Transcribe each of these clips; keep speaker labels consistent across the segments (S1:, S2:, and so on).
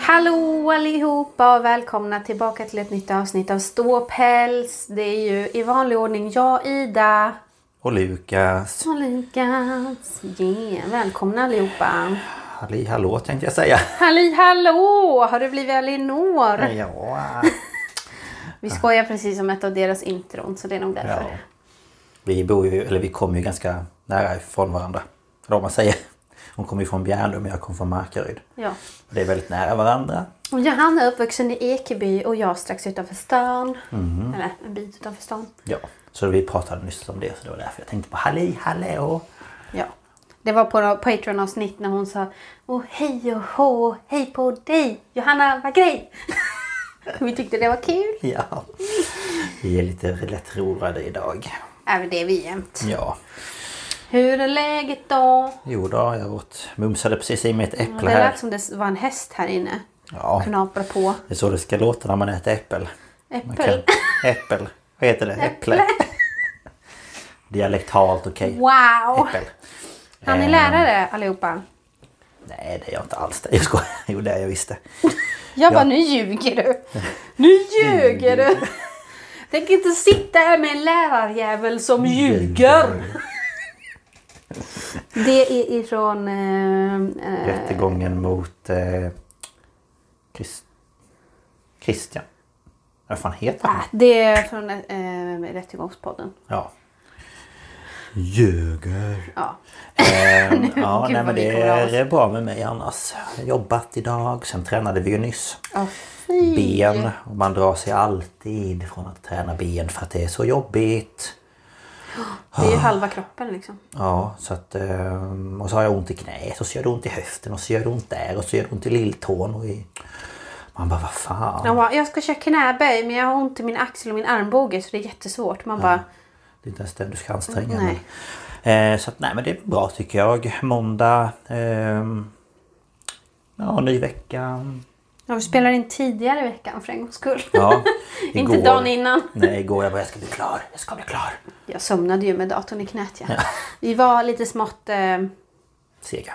S1: Hallå allihopa och välkomna tillbaka till ett nytt avsnitt av Ståpäls. Det är ju i vanlig ordning jag, Ida
S2: Och Lukas.
S1: och Lukas. Yeah, välkomna allihopa.
S2: Halli hallå tänkte jag säga.
S1: Halli hallå! Har du blivit Elinor?
S2: Ja.
S1: Vi skojar precis om ett av deras intron så det är nog
S2: ja.
S1: därför.
S2: Vi bor ju, eller vi kommer ju ganska nära ifrån varandra. Eller vad man säger. Hon kommer ju från Bjärnum och jag kommer från Markaryd.
S1: Ja.
S2: Och det är väldigt nära varandra.
S1: Och Johanna är uppvuxen i Ekeby och jag strax utanför stan. Eller en bit utanför stan.
S2: Ja. Så vi pratade nyss om det så det var därför jag tänkte på halli hallå.
S1: Ja. Det var på Patreon-avsnitt när hon sa Åh hej och hå, hej på dig Johanna vad grej! Vi tyckte det var kul.
S2: Ja. Vi är lite lätt roade idag.
S1: Även Äh, det är vi jämt.
S2: Ja.
S1: Hur är läget då?
S2: Jo då, jag åt, mumsade precis i mig ett
S1: Det
S2: äpple här.
S1: lät som det var en häst här inne.
S2: Ja.
S1: Knaprar på.
S2: Det är så det ska låta när man äter äppel. Man
S1: Äppel.
S2: kan- Äppel. Vad heter det? Äpple. Dialektalt okej.
S1: Wow!
S2: Äppel.
S1: Han är
S2: Eh,
S1: lärare allihopa.
S2: Nej det är jag inte alls. Jag skojar. Jo det är jag visst det.
S1: Jag bara,
S2: Ja.
S1: nu ljuger du! Nu ljuger du! Tänk inte sitta här med en lärarjävel som ljuger! Det är ifrån... eh, eh,
S2: Rättegången mot eh, Chris, Christian. Vad fan heter han?
S1: Det är från eh, Rättegångspodden.
S2: Ja. Ljuger.
S1: Ja.
S2: Ehm, ja,
S1: Gud, vad
S2: nej, men
S1: vi
S2: det
S1: kommer av oss.
S2: är bra med mig annars. Jag har jobbat idag, sen tränade vi ju nyss.
S1: Oh,
S2: ben. Och man drar sig alltid från att träna ben för att det är så jobbigt.
S1: Det är ju halva kroppen liksom.
S2: Ah. Ja, så att, ehm, och så har jag ont i knät och så gör det ont i höften och så gör det ont där och så gör det ont i lilltån. Och i... Man bara, vad fan.
S1: Jag, bara, jag ska köra knäböj men jag har ont i min axel och min armbåge så det är jättesvårt. Man bara,
S2: Det är inte ens den du ska anstränga.
S1: Mm, nej.
S2: men- Eh, så att, nej, men det är bra tycker jag. Måndag. ehm, ja, ny vecka.
S1: ja, vi spelar in tidigare i veckan för en gångs skull.
S2: Ja,
S1: Inte
S2: igår-
S1: dagen innan.
S2: Nej, igår jag bara, jag ska bli klar. Jag ska bli klar.
S1: Jag somnade ju med datorn i knät. Ja. Vi var lite smått eh,
S2: Sega.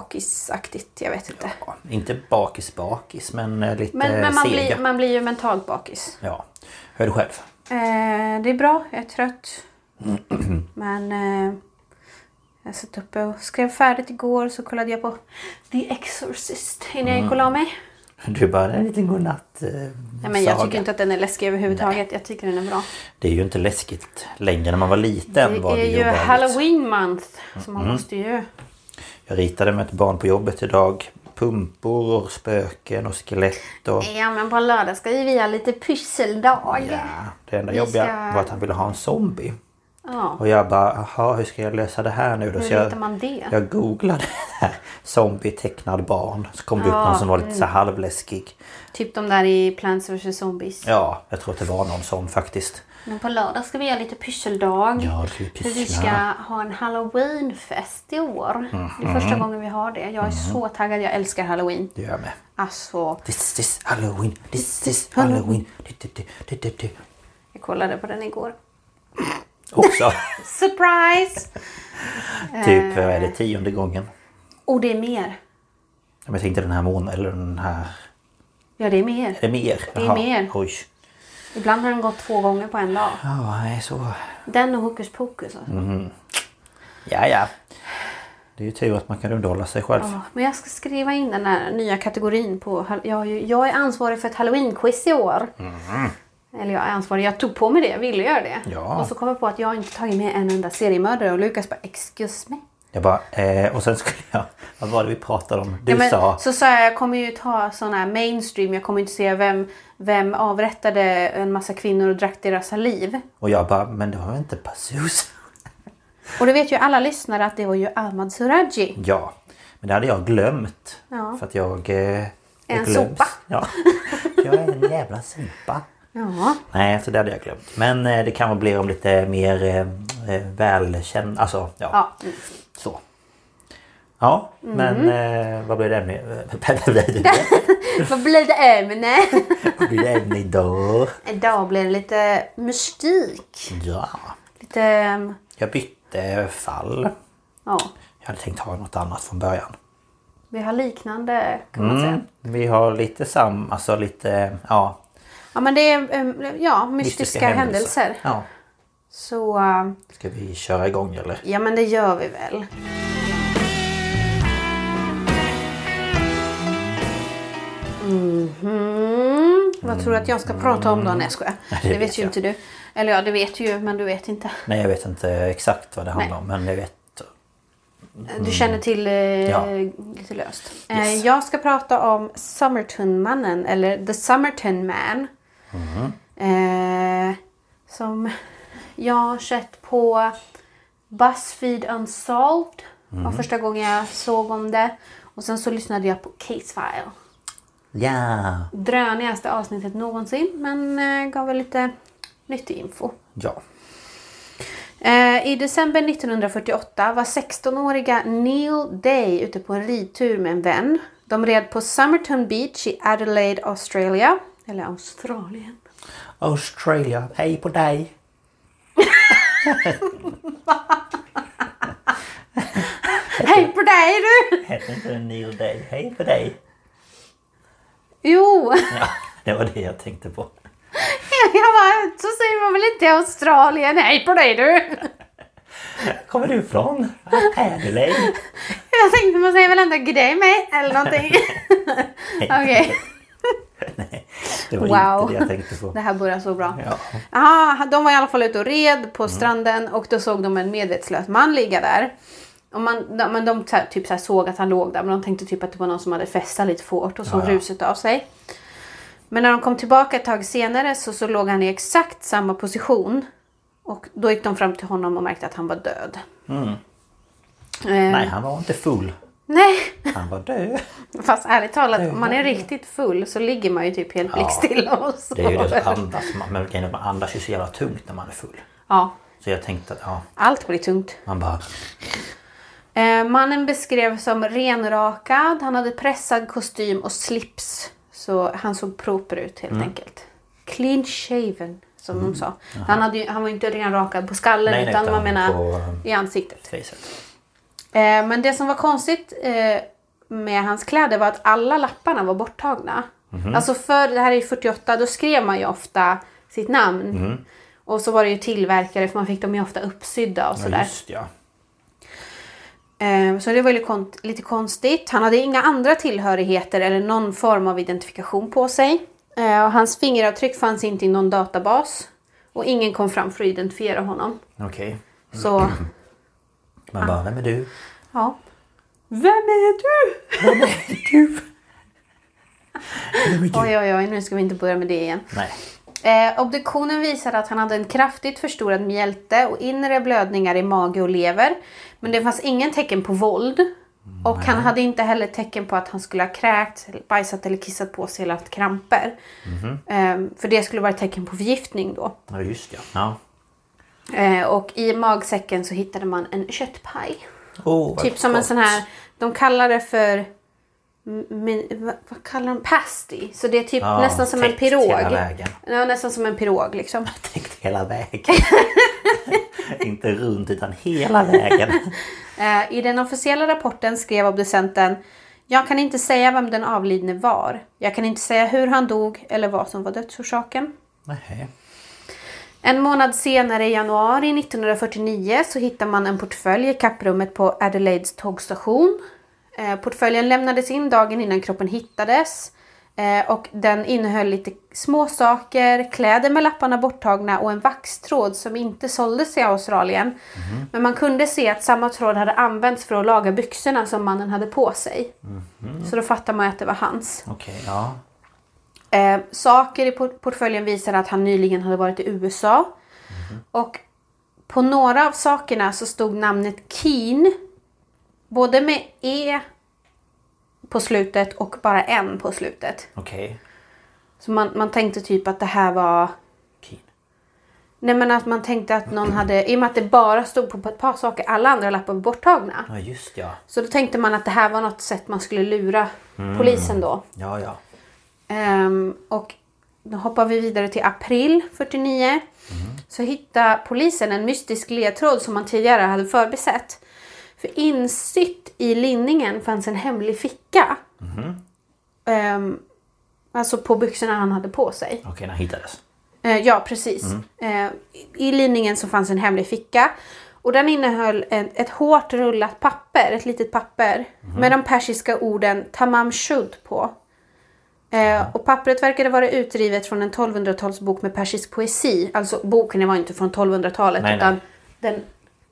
S1: bakisaktigt, jag vet inte.
S2: Ja, inte bakis bakis, men eh, lite
S1: Men, men man,
S2: sega.
S1: blir, man blir ju mentalt bakis.
S2: Ja, hör du själv.
S1: Eh, det är bra, jag är trött. Men eh, jag satt uppe och skrev färdigt igår så kollade jag på The Exorcist innan
S2: Mm.
S1: jag gick och la mig.
S2: Du bara, en liten godnatt eh,
S1: Nej, men jag
S2: saga.
S1: tycker inte att den är läskig överhuvudtaget. Jag tycker den är bra.
S2: Det är ju inte läskigt längre. När man var liten
S1: det
S2: var
S1: är
S2: det Mm.
S1: ju
S2: obehagligt.
S1: Halloween month. Så man måste ju...
S2: Jag ritade med ett barn på jobbet idag. Pumpor och spöken och skelett och...
S1: Ja men på lördag ska ju vi ha lite pysseldag.
S2: Ja, det enda
S1: Vi
S2: jobbiga
S1: ska-
S2: var att han ville ha en zombie.
S1: Ja.
S2: Och jag bara, jaha hur ska jag lösa det här nu då?
S1: Hur
S2: så jag,
S1: hittar man det?
S2: Jag googlade där, zombie tecknad barn. Så kom det upp någon som var lite så här
S1: Mm.
S2: halvläskig.
S1: Typ de där i Plants vs Zombies.
S2: Ja, jag tror att det var någon sån faktiskt.
S1: Men på lördag ska vi göra lite pysseldag.
S2: Ja, det ska vi
S1: För vi
S2: pyssla.
S1: ska ha en halloweenfest i år. Det är första gången vi har det. Jag är så taggad. Jag älskar halloween.
S2: Det gör jag med.
S1: Alltså,
S2: This is halloween, this is halloween. Du, du, du, du, du, du.
S1: jag kollade på den igår.
S2: Också
S1: Surprise!
S2: typ, vad är det, tionde gången?
S1: Och det är mer.
S2: Ja, men Jag tänkte den här månaden, eller den här...
S1: Ja, det är mer.
S2: Är det mer?
S1: är mer.
S2: Oj.
S1: Ibland har den gått två gånger på en dag.
S2: Ja, nej så...
S1: Den och Hokus Pokus. Alltså.
S2: Ja, ja. Det är ju tur att man kan underhålla sig själv.
S1: Ja, Men jag ska skriva in den här nya kategorin på... hall- Jag, har ju- jag är ansvarig för ett halloween-quiz i år. Eller jag är ansvarig, jag tog på mig det, jag ville göra det.
S2: Ja.
S1: Och så kom jag på att jag inte tagit med en enda seriemördare och Lukas bara excuse me.
S2: Jag bara, eh, och sen skulle jag... Vad var det vi pratade om? Du
S1: Ja, men,
S2: sa...
S1: Så sa jag, jag kommer ju ta sådana här mainstream, jag kommer inte se vem, vem avrättade en massa kvinnor och drack deras saliv.
S2: Och jag bara, men det var väl inte Pazuzu?
S1: Och det vet ju alla lyssnare att det var ju Ahmad Suraji.
S2: Ja, men det hade jag glömt.
S1: Ja.
S2: För att jag... Eh, jag
S1: En
S2: glöms.
S1: sopa.
S2: Ja. Jag är en jävla sopa.
S1: Ja.
S2: Nej, så det hade jag glömt. Men eh, det kan väl bli om lite mer eh, eh, välkänd... Alltså, ja.
S1: ja. Mhm.
S2: Så. Ja, men eh, vad blir det ämne? vad blir det-
S1: Vad blir det ämne?
S2: vad blir det ämne idag?
S1: Idag blir det lite mystik.
S2: Ja,
S1: Lite... ehm,
S2: jag bytte fall.
S1: Ja.
S2: Jag hade tänkt ha något annat från början.
S1: Vi har liknande kan man säga.
S2: Vi har lite sam, alltså lite, ja.
S1: Ja men det är ehm, ja, mystiska, händelser.
S2: Ja.
S1: Så eh,
S2: Ska vi köra igång eller?
S1: ja men det gör vi väl. Mhm. Vad tror du att jag ska prata om då? Nej jag skojar.
S2: det
S1: Det,
S2: vet
S1: vet ju
S2: jag.
S1: inte du. Eller ja det vet ju men du vet inte.
S2: Nej, jag vet inte exakt vad det handlar
S1: Nej.
S2: om, men jag vet.
S1: Du känner till eh,
S2: Mm. Ja.
S1: lite löst.
S2: Yes.
S1: Eh, jag ska prata om Summertonmannen eller The Summerton Man.
S2: Mm.
S1: Eh, som jag har sett på Buzzfeed Unsolved. var
S2: Mm.
S1: första gången jag såg om det. Och sen så lyssnade jag på Case File.
S2: Ja,
S1: Drönigaste avsnittet någonsin men eh, gav väl lite nyttig info.
S2: ja.
S1: Eh, I december 1948 var 16-åriga Neil Day ute på en ridtur med en vän. De red på Summerton Beach i Adelaide, Australia. Eller Australien.
S2: Australia, hej på dig.
S1: Hej på dig du!
S2: Hette inte det Neil Day? Hej på dig.
S1: Jo,
S2: Ja, det var det jag tänkte på.
S1: jag bara, så säger man väl inte i Australien. Hej på dig du!
S2: Kommer du ifrån? Adelaide.
S1: Jag tänkte man säger väl ändå grej mig eller någonting. Okej,
S2: Det var
S1: Wow.
S2: inte det jag tänkte på.
S1: det här börjar så bra.
S2: Ja.
S1: Aha, de var i alla fall ute och red på
S2: Mm.
S1: stranden och då såg de en medvetslös man ligga där. Och man, de, men de så här, typ så här såg att han låg där men de tänkte typ att det var någon som hade festat lite för hårt och såg ruset av sig. Men när de kom tillbaka ett tag senare så, så låg han i exakt samma position. Och då gick de fram till honom och märkte att han var död. Eh,
S2: Nej, han var inte full.
S1: nej,
S2: Han var död.
S1: fast ärligt talat om man är riktigt full så ligger man ju typ helt blickstilla och sover.
S2: Det är ju det som andas. Man, men grejen är att man andas ju så jävla tungt när man är full.
S1: Ja,
S2: Så jag tänkte att ja,
S1: allt blir tungt.
S2: man bara...
S1: Eh, mannen beskrevs som renrakad, han hade pressad kostym och slips. Så han såg proper ut helt
S2: Mm.
S1: enkelt. Clean shaven som de sa. Han, hade ju, han var ju inte renrakad på skallen
S2: Nej, nej,
S1: utan
S2: utan
S1: man menar
S2: på, um,
S1: i ansiktet.
S2: Facet.
S1: Eh, men det som var konstigt eh, med hans kläder var att alla lapparna var borttagna.
S2: Mhm.
S1: Alltså för det här är ju 48, då skrev man ju ofta sitt namn.
S2: Mhm.
S1: Och så var det ju tillverkare för man fick dem ju ofta uppsydda och
S2: Ja,
S1: sådär.
S2: just ja.
S1: Eh, Så det var ju kon- lite konstigt. Han hade inga andra tillhörigheter eller någon form av identifikation på sig. Eh, Och hans fingeravtryck fanns inte i någon databas. Och ingen kom fram för att identifiera honom.
S2: Okej.
S1: Så,
S2: Man bara, vem är du?
S1: ja. Vem är du?
S2: Vem är du?
S1: Oj, oj, oj, nu ska vi inte börja med det igen.
S2: Nej.
S1: Eh, Eh, obduktionen visade att han hade en kraftigt förstorad mjälte och inre blödningar i mage och lever. Men det fanns ingen tecken på våld. Och han hade inte heller tecken på att han skulle ha kräkt, bajsat eller kissat på sig eller haft kramper.
S2: Mhm.
S1: Eh, för det skulle vara ett tecken på förgiftning då.
S2: Ja, just ja. ja.
S1: Eh, och i magsäcken så hittade man en köttpaj.
S2: Oh, vad
S1: Typ som en
S2: gott.
S1: sån här, de kallar det för m- min, vad, vad kallar de? Pasty. Så det är typ
S2: Ja,
S1: nästan som en
S2: täckt
S1: pirog.
S2: hela vägen.
S1: Ja, nästan som en pirog liksom.
S2: Täckt hela vägen. Inte runt utan hela vägen.
S1: Eh, I den officiella rapporten skrev obducenten Jag kan inte säga vem den avlidne var. Jag kan inte säga hur han dog eller vad som var dödsorsaken.
S2: Nej.
S1: En månad senare i januari 1949 så hittar man en portfölj i kapprummet på Adelaides tågstation. Eh, portföljen lämnades in dagen innan kroppen hittades. Eh, och den innehöll lite små saker, kläder med lapparna borttagna och en vaxtråd som inte såldes i Australien. Men man kunde se att samma tråd hade använts för att laga byxorna som mannen hade på sig. Så då fattar man ju att det var hans.
S2: Okej, ja.
S1: Eh, saker i port- portföljen visar att han nyligen hade varit i USA. Och på några av sakerna så stod namnet Keen. Både med E på slutet och bara en på slutet.
S2: Okej.
S1: Så man, man tänkte typ att det här var...
S2: Keen.
S1: Nej men att man tänkte att någon hade... I och med att det bara stod på ett par saker, alla andra lappar var borttagna.
S2: Ja, just ja.
S1: Så då tänkte man att det här var något sätt man skulle lura polisen då.
S2: Ja, ja.
S1: Ehm, och då hoppar vi vidare till april 49. Så hittar polisen en mystisk ledtråd som man tidigare hade förbisett. För insytt i linningen fanns en hemlig ficka. Ehm, alltså på byxorna han hade på sig.
S2: Okej, den hittades.
S1: Eh, ja, precis.
S2: Mm.
S1: Eh, I linningen så fanns en hemlig ficka. Och den innehöll en, ett hårt rullat papper, ett litet papper.
S2: Mhm.
S1: Med de persiska orden tamam shud på. Eh, och pappret verkade vara utrivet från en 1200-talsbok med persisk poesi. Alltså boken var inte från 1200-talet
S2: Nej, nej.
S1: utan den
S2: Den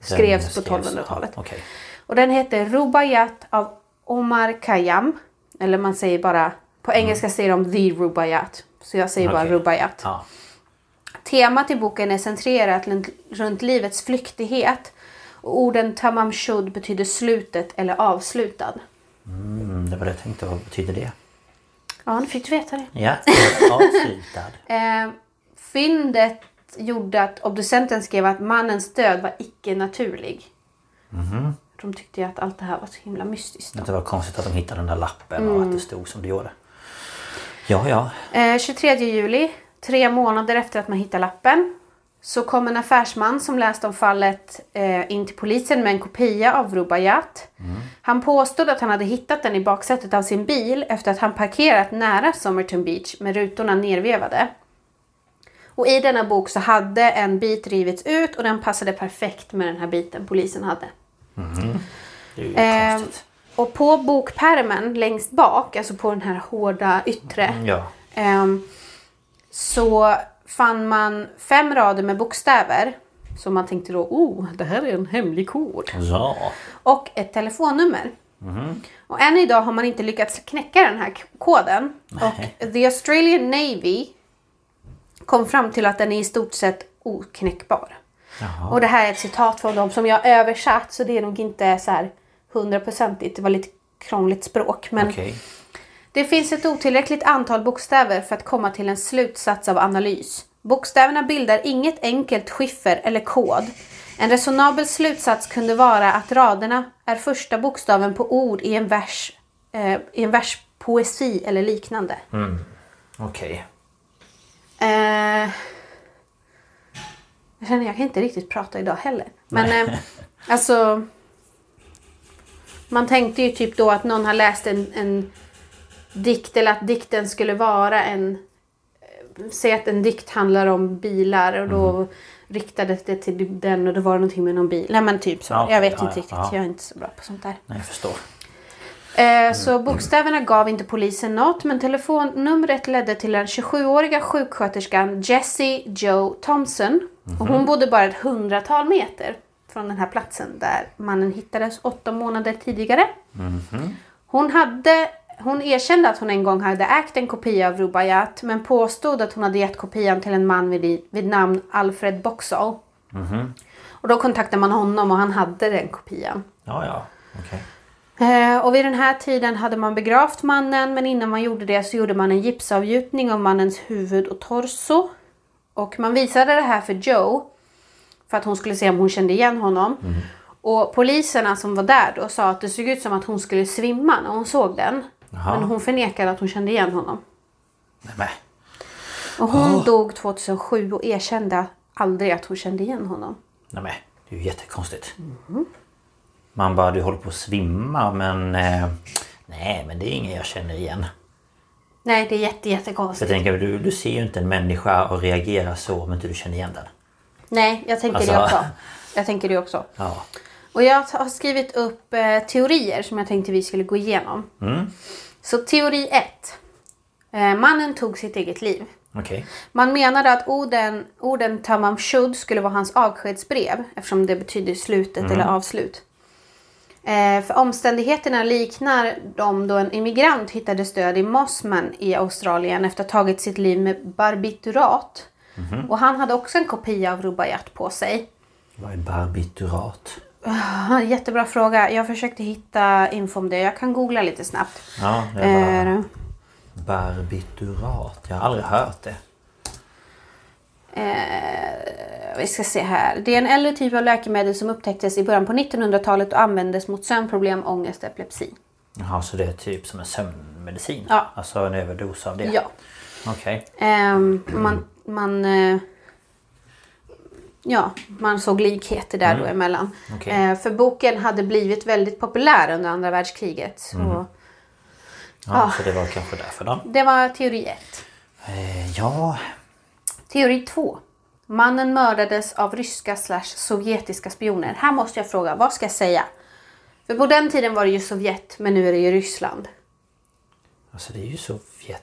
S1: skrevs på
S2: skrevs-
S1: 1200-talet.
S2: ja, Okej.
S1: Och den heter Rubaiyat av Omar Khayyam. Eller man säger bara, på engelska säger de the Rubaiyat. Så jag säger bara
S2: Mm. Okej.
S1: Rubaiyat.
S2: Ja.
S1: Temat i boken är centrerat lun- runt livets flyktighet och orden tamam shud betyder slutet eller avslutad.
S2: Mm, det var det jag tänkte. Vad betyder det?
S1: Ja, nu fick du veta det.
S2: Ja, avslutad.
S1: Eh, fyndet gjorde att obducenten skrev att mannens död var icke-naturlig. De tyckte ju att allt det här var så himla mystiskt. Då.
S2: Det var konstigt att de hittade den där lappen och
S1: Mm.
S2: att det stod som det gjorde. Ja, ja.
S1: Eh, 23 juli, tre månader efter att man hittar lappen, så kom en affärsman som läste om fallet eh, in till polisen med en kopia av Rubaiyat. Han påstod att han hade hittat den i baksätet av sin bil efter att han parkerat nära Somerton Beach med rutorna nervevade. Och i denna bok så hade en bit rivits ut och den passade perfekt med den här biten polisen hade.
S2: Det är ju
S1: Ehm,
S2: konstigt.
S1: och på bokpärmen längst bak, alltså på den här hårda yttre,
S2: Ja.
S1: Ehm, så fann man fem rader med bokstäver. Så man tänkte då, oh, det här är en hemlig kod.
S2: Ja.
S1: Och ett telefonnummer. Och än idag har man inte lyckats knäcka den här k- koden. Och The Australian Navy kom fram till att den är i stort sett oknäckbar. Och det här är ett citat från dem som jag översatt så det är nog inte så här hundraprocentigt. Det var lite krångligt språk. Men
S2: Okej.
S1: det finns ett otillräckligt antal bokstäver för att komma till en slutsats av analys. Bokstäverna bildar inget enkelt skiffer eller kod. En resonabel slutsats kunde vara att raderna är första bokstaven på ord i en vers, eh, i en vers poesi eller liknande.
S2: Okej.
S1: Eh, jag känner jag kan inte riktigt prata idag heller. Men eh, alltså. Man tänkte ju typ då att någon har läst en, en dikt eller att dikten skulle vara en. eh, Säg att en dikt handlar om bilar och då
S2: Mm.
S1: riktades det till den och då var det någonting med någon bil. Nej men typ så.
S2: Ja, okej.
S1: jag vet
S2: Ja,
S1: inte
S2: ja,
S1: riktigt.
S2: ja.
S1: Jag är inte så bra på sånt där.
S2: Nej, jag förstår.
S1: Eh, Så bokstäverna gav inte polisen något men telefonnumret ledde till den 27-åriga sjuksköterskan Jessie Joe Thompson. Och hon bodde bara ett hundratal meter från den här platsen där mannen hittades åtta månader tidigare. Hon hade Hon erkände att hon en gång hade ägt en kopia av Rubaiyat men påstod att hon hade gett kopian till en man vid, vid namn Alfred Boxall. Och då kontaktade man honom och han hade den kopian.
S2: Ja, ja. Okej.
S1: Eh, Och vid den här tiden hade man begravt mannen men innan man gjorde det så gjorde man en gipsavgjutning av mannens huvud och torso. Och man visade det här för Joe för att hon skulle se om hon kände igen honom. Och poliserna som var där då sa att det såg ut som att hon skulle svimma när hon såg den.
S2: Jaha.
S1: Men hon förnekade att hon kände igen honom.
S2: Nämen.
S1: Och hon dog 2007 och erkände aldrig att hon kände igen honom.
S2: Nämen. Det är ju jättekonstigt.
S1: Mm.
S2: Man bara, du håller på att svimma men... Eh, nej, men det är ingen jag känner igen.
S1: Nej, det är jätte,
S2: Så jag
S1: jättekonstigt.
S2: tänker, du, du ser ju inte en människa och reagerar så om inte du känner igen den.
S1: Nej, jag tänker det
S2: Alltså-
S1: också. Jag tänker det också.
S2: Ja.
S1: Och jag har skrivit upp eh, teorier som jag tänkte vi skulle gå igenom. Så teori 1. Eh, mannen tog sitt eget liv.
S2: Okej.
S1: Man menade att orden, orden Tamam Shud skulle vara hans avskedsbrev eftersom det betyder slutet eller avslut. Eh, för omständigheterna liknar de då en immigrant hittade stöd i Mossman i Australien efter att ha tagit sitt liv med barbiturat. Och han hade också en kopia av Rubaiyat på sig.
S2: Vad är barbiturat?
S1: Ah, Jättebra fråga. Jag försökte hitta info om det. Jag kan googla lite snabbt.
S2: Ja, det är bara...
S1: Eh,
S2: Barbiturat. Jag har aldrig hört det.
S1: vi ska se här. Det är en äldre typ av läkemedel som upptäcktes i början på 1900-talet och användes mot sömnproblem, ångest och epilepsi.
S2: Jaha, så det är typ som en sömnmedicin?
S1: Ja.
S2: Alltså en överdos av det?
S1: Ja.
S2: Okej.
S1: Ehm, man, man, eh, ja, man såg likheter där då emellan.
S2: Mm. Okej.
S1: Eh, för boken hade blivit väldigt populär under andra världskriget. Så
S2: Mm. Ja, Så det var kanske därför då.
S1: Det var teori ett.
S2: Eh, ja,
S1: Teori 2. Mannen mördades av ryska slash sovjetiska spioner. Här måste jag fråga, vad ska jag säga? För på den tiden var det ju Sovjet, men nu är det ju Ryssland.
S2: alltså det är ju Sovjet...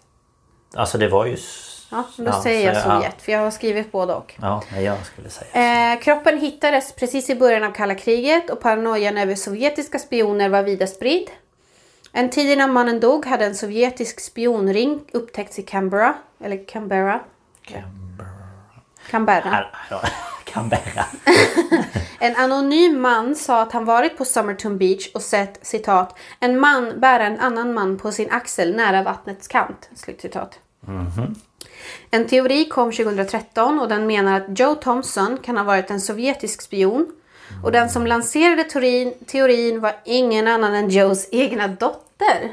S2: Alltså det var ju... s-
S1: Ja, då säger jag
S2: så-
S1: Sovjet, för jag har skrivit både och.
S2: Ja, ja, jag skulle säga.
S1: Eh, kroppen hittades precis i början av kalla kriget och paranoian över sovjetiska spioner var vida spridd. En tid innan mannen dog hade en sovjetisk spionring upptäckts i Canberra, eller Canberra, Canberra.
S2: Här- ja, Canberra.
S1: En anonym man sa att han varit på Summerton Beach och sett citat en man bära en annan man på sin axel nära vattnets kant. Slutcitat. En teori kom 2013 och den menar att Joe Thompson kan ha varit en sovjetisk spion och den som lanserade teorin, teorin var ingen annan än Joes egna dotter.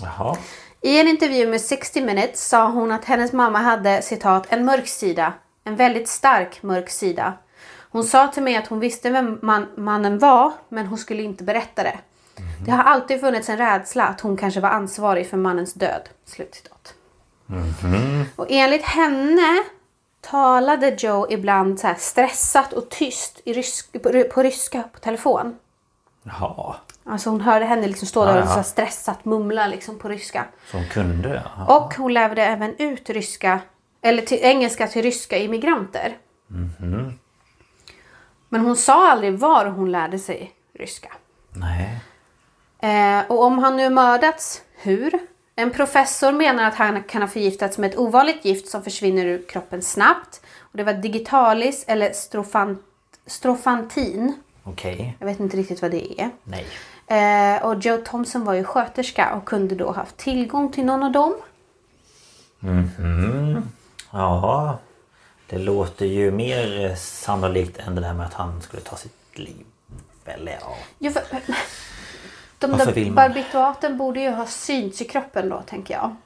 S2: Jaha.
S1: I en intervju med 60 Minutes sa hon att hennes mamma hade citat en mörk sida. En väldigt stark mörk sida. Hon sa till mig att hon visste vem man, mannen var men hon skulle inte berätta det.
S2: Mhm.
S1: Det har alltid funnits en rädsla att hon kanske var ansvarig för mannens död. Slutcitat.
S2: Mhm.
S1: Och enligt henne talade Joe ibland så här stressat och tyst i rysk, på, på ryska på telefon.
S2: Jaha.
S1: Alltså hon hörde henne liksom stå där
S2: Ja,
S1: och
S2: ja.
S1: så här stressat mumla liksom på ryska.
S2: Så hon kunde det? Ja.
S1: Och hon lärde även ut ryska, eller till, engelska till ryska immigranter. Men hon sa aldrig var hon lärde sig ryska.
S2: Nej.
S1: Eh, och om han nu mördats, hur? En professor menar att han kan ha förgiftats med ett ovanligt gift som försvinner ur kroppen snabbt. Och det var digitalis eller strofant, strofantin.
S2: Okej.
S1: Jag vet inte riktigt vad det är.
S2: Nej.
S1: Eh, och Joe Thompson var ju sköterska och kunde då haft tillgång till någon av dem.
S2: Ja. Det låter ju mer eh, sannolikt än det där med att han skulle ta sitt liv. Eller ja.
S1: Ja, för, de
S2: Varför
S1: där
S2: vill man?
S1: barbituraten borde ju ha synts i kroppen då, tänker jag.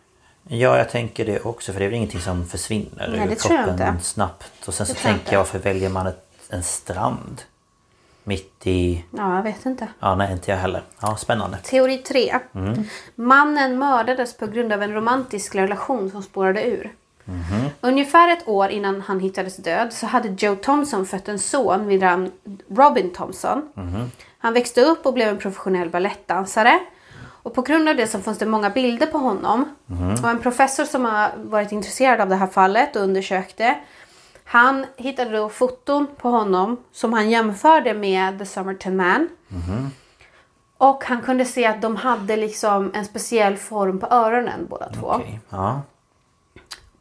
S2: Ja, jag tänker det också för det är väl ingenting som försvinner
S1: Nej,
S2: ur
S1: det tror jag
S2: kroppen
S1: inte.
S2: snabbt. Och sen så
S1: Det tror jag
S2: tänker
S1: inte.
S2: jag, varför väljer man ett, en strand? Mitt i...
S1: Ja, jag vet inte.
S2: Ja, nej inte jag heller. Ja, spännande.
S1: Teori 3.
S2: Mhm.
S1: Mannen mördades på grund av en romantisk relation som spårade ur.
S2: Mhm.
S1: Ungefär ett år innan han hittades död så hade Joe Thompson fött en son vid namn Robin Thompson.
S2: Mhm.
S1: Han växte upp och blev en professionell balettdansare. Och på grund av det så fanns det många bilder på honom. Och en professor som har varit intresserad av det här fallet och undersökte. Han hittade då foton på honom som han jämförde med The Summerton Man. Och han kunde se att de hade liksom en speciell form på öronen båda två.
S2: Okej. Ja.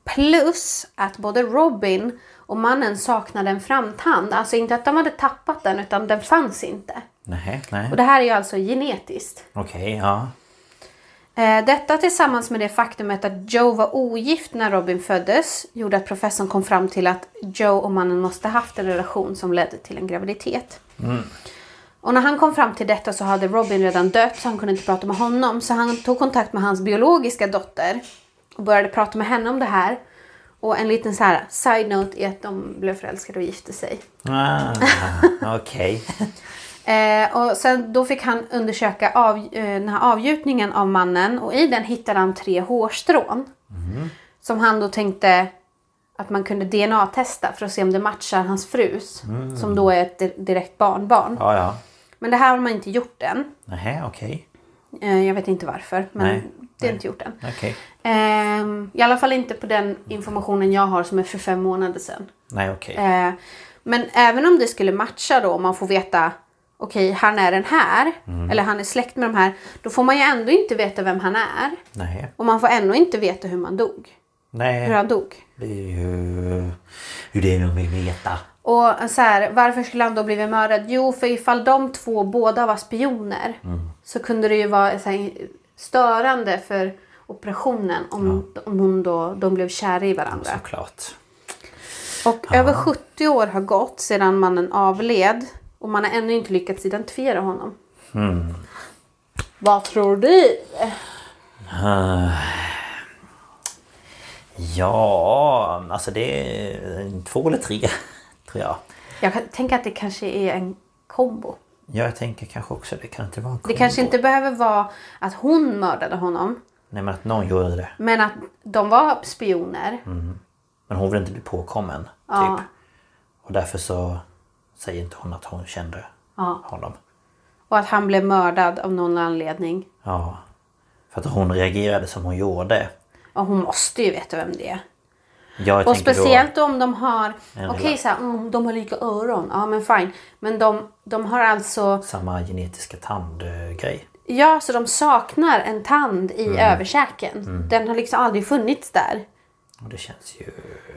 S1: Plus att både Robin och mannen saknade en framtand. Alltså inte att de hade tappat den utan den fanns inte.
S2: Nej, nej.
S1: Och det här är ju alltså genetiskt.
S2: Okej, ja.
S1: Eh, Detta tillsammans med det faktumet att Joe var ogift när Robin föddes gjorde att professorn kom fram till att Joe och mannen måste haft en relation som ledde till en graviditet. Och när han kom fram till detta så hade Robin redan dött så han kunde inte prata med honom. Så han tog kontakt med hans biologiska dotter och började prata med henne om det här. Och en liten så här side-note är att de blev förälskade och gifte sig.
S2: Ah, Okej.
S1: Eh, och sen då fick han undersöka av, eh, den här avgjutningen av mannen och i den hittade han tre hårstrån. Som han då tänkte att man kunde DNA-testa för att se om det matchar hans frus. Som då är ett di- direkt barnbarn.
S2: Mm. Ja, ja.
S1: Men det här har man inte gjort än.
S2: Nej, okej.
S1: Eh, jag vet inte varför men
S2: Nej,
S1: det är inte gjort än.
S2: Okej.
S1: Ehm, I alla fall inte på den informationen jag har som är för fem månader sedan.
S2: Nej, okej.
S1: Eh, Men även om det skulle matcha då, om man får veta okej, han är den här, eller han är släkt med de här, då får man ju ändå inte veta vem han är.
S2: Nej.
S1: Och man får ändå inte veta hur man dog. Hur
S2: Nej.
S1: han dog.
S2: Det är ju... Hur det är man vill veta.
S1: Och så här, varför skulle han då blivit mördad? Jo, för ifall de två båda var spioner så kunde det ju vara så här, störande för operationen om, om hon då, de blev kära i varandra.
S2: Såklart.
S1: Och över 70 år har gått sedan mannen avled och man har ännu inte lyckats identifiera honom.
S2: Hmm.
S1: Vad tror du?
S2: Eh, Ja, alltså det är två eller tre, tror jag.
S1: Jag kan- tänker att det kanske är en kombo.
S2: Ja, jag tänker kanske också det. Kan inte vara en
S1: Det kanske inte behöver vara att hon mördade honom,
S2: Nej, men att någon gjorde det.
S1: men att de var spioner.
S2: Mm. Men hon vill inte bli påkommen.
S1: Ja.
S2: Typ. Och därför så säger inte hon att hon kände
S1: Ja.
S2: honom.
S1: Och att han blev mördad av någon anledning.
S2: Ja. För att hon reagerade som hon gjorde.
S1: Och hon måste ju veta vem det är.
S2: Jag
S1: Och
S2: tänker
S1: speciellt om de har...
S2: En
S1: Okej,
S2: rela-
S1: så här, mm, de har lika öron. Ja, men fine. Men de, de har alltså...
S2: då samma genetiska tandgrej.
S1: Ja, så de saknar en tand
S2: Mm.
S1: i överkäken. Den har liksom aldrig funnits där.
S2: Och det känns ju...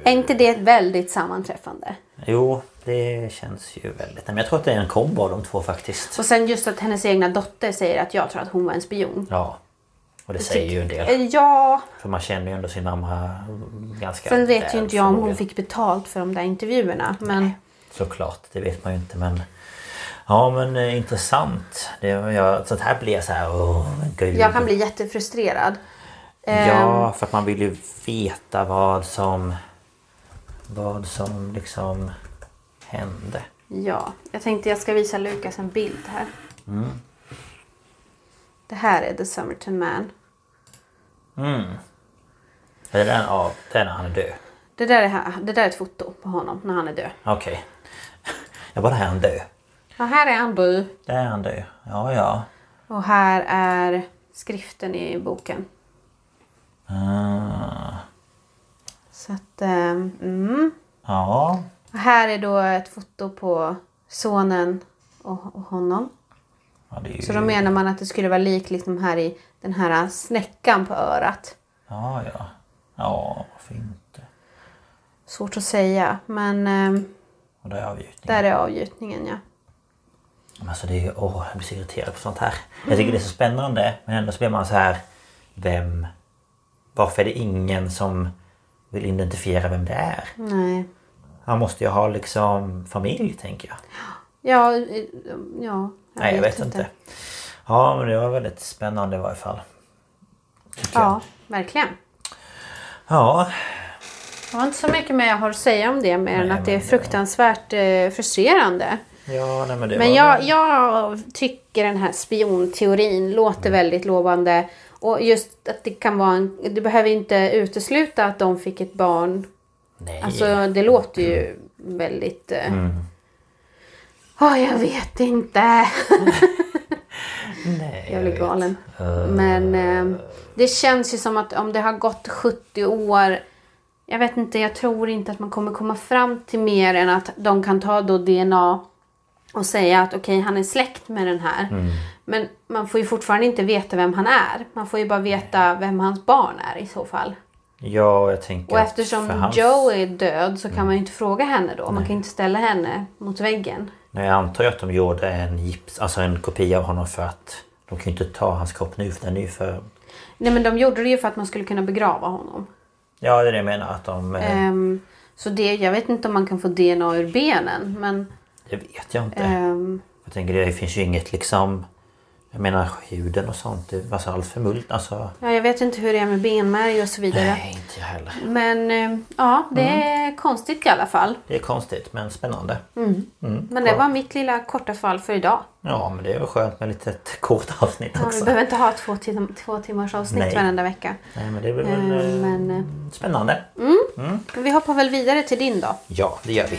S1: Är inte det ett väldigt sammanträffande?
S2: Jo, det känns ju väldigt... Men jag tror att det är en kombo av de två faktiskt.
S1: Och sen just att hennes egna dotter säger att jag tror att hon var en spion.
S2: Ja. Och det säger ju en del.
S1: Eh, Ja,
S2: För man känner ju ändå sin mamma ganska
S1: sen vet
S2: väl,
S1: ju inte jag om hon
S2: förmodligen.
S1: fick betalt för de där intervjuerna. Men
S2: Såklart, det vet man ju inte men... Ja men eh, intressant. Det, var- jag, sånt här blir jag så här... Åh, men gud.
S1: jag kan bli jättefrustrerad. Ehm,
S2: Ja, för att man vill ju veta vad som... Vad som liksom hände.
S1: Ja, jag tänkte jag ska visa Lukas en bild här.
S2: Mm.
S1: Det här är The Summerton Man.
S2: Är det den av... Den han är död?
S1: Det där är, det där är ett foto på honom när han är död.
S2: Okej. Jag bara, här är han död.
S1: Ja, här är han död.
S2: Där är han död. Ja, ja.
S1: Och här är skriften i boken.
S2: Ah,
S1: Så att, eh, mm.
S2: ja.
S1: Och här är då ett foto på sonen och, och honom.
S2: ja det är ju...
S1: Så då menar man att det skulle vara lik liksom här i den här snäckan på örat.
S2: Ja, ja. Ja, varför inte?
S1: Svårt att säga, men eh,
S2: Och där är avgjutningen.
S1: där är avgjutningen ja.
S2: Men Alltså det är ju, åh, jag blir så irriterad på sånt här. Jag tycker det är så spännande men ändå så blir man så här, vem... Varför är det ingen som vill identifiera vem det är?
S1: Nej.
S2: Han måste ju ha liksom familj tänker jag.
S1: Ja, eh, ja.
S2: Nej jag vet inte. Ja men det var väldigt spännande i varje fall. tycker jag.
S1: Ja, verkligen.
S2: Ja,
S1: Det var inte så mycket mer jag har att säga om det mer än att det är
S2: men-
S1: fruktansvärt eh, frustrerande.
S2: ja nej, men det
S1: Men
S2: var
S1: jag, jag tycker den här spionteorin låter väldigt lovande. Och just att det kan vara en... Det behöver inte utesluta att de fick ett barn.
S2: Nej.
S1: Alltså det låter ju väldigt... eh,
S2: Mm.
S1: Ja, jag vet inte.
S2: nej,
S1: Jag blir
S2: vet.
S1: galen. Men eh, det känns ju som att om det har gått 70 år. Jag vet inte, jag tror inte att man kommer komma fram till mer
S2: Mm.
S1: än att de kan ta då DNA och säga att okej, han är släkt med den här. Men man får ju fortfarande inte veta vem han är. Man får ju bara veta vem hans barn är i så fall.
S2: Ja, och jag tänker
S1: Och
S2: att
S1: eftersom
S2: för hans- Mm.
S1: Joe är död så kan man ju inte fråga henne då. Man kan inte ställa henne mot väggen.
S2: Nej, jag antar ju att de gjorde en gips, alltså en kopia av honom för att de kan ju inte ta hans kropp nu för den är ju för...
S1: Nej men de gjorde det ju för att man skulle kunna begrava honom.
S2: Ja, det är det jag menar. Att de... eh,
S1: Ehm, så det, jag vet inte om man kan få DNA ur benen men...
S2: Det vet jag inte.
S1: ehm,
S2: Jag tänker det finns ju inget liksom... Jag menar ljuden och sånt. Det var så allt för mult. Alltså,
S1: ja, jag vet inte hur det är med benmärg och så vidare.
S2: nej, Mm. inte jag heller.
S1: Men ehm, ja, det är konstigt i alla fall.
S2: Det är konstigt men spännande.
S1: Mm. Men det var mitt lilla korta fall för idag.
S2: Ja, men det är väl skönt med lite ett kort avsnitt
S1: Ja, vi
S2: också.
S1: behöver inte ha två, tim- två timmars avsnitt
S2: Nej.
S1: varenda vecka.
S2: Nej, men det blir väl
S1: Ehm,
S2: eh,
S1: men, eh,
S2: spännande.
S1: men vi hoppar väl vidare till din då.
S2: Ja, det gör vi.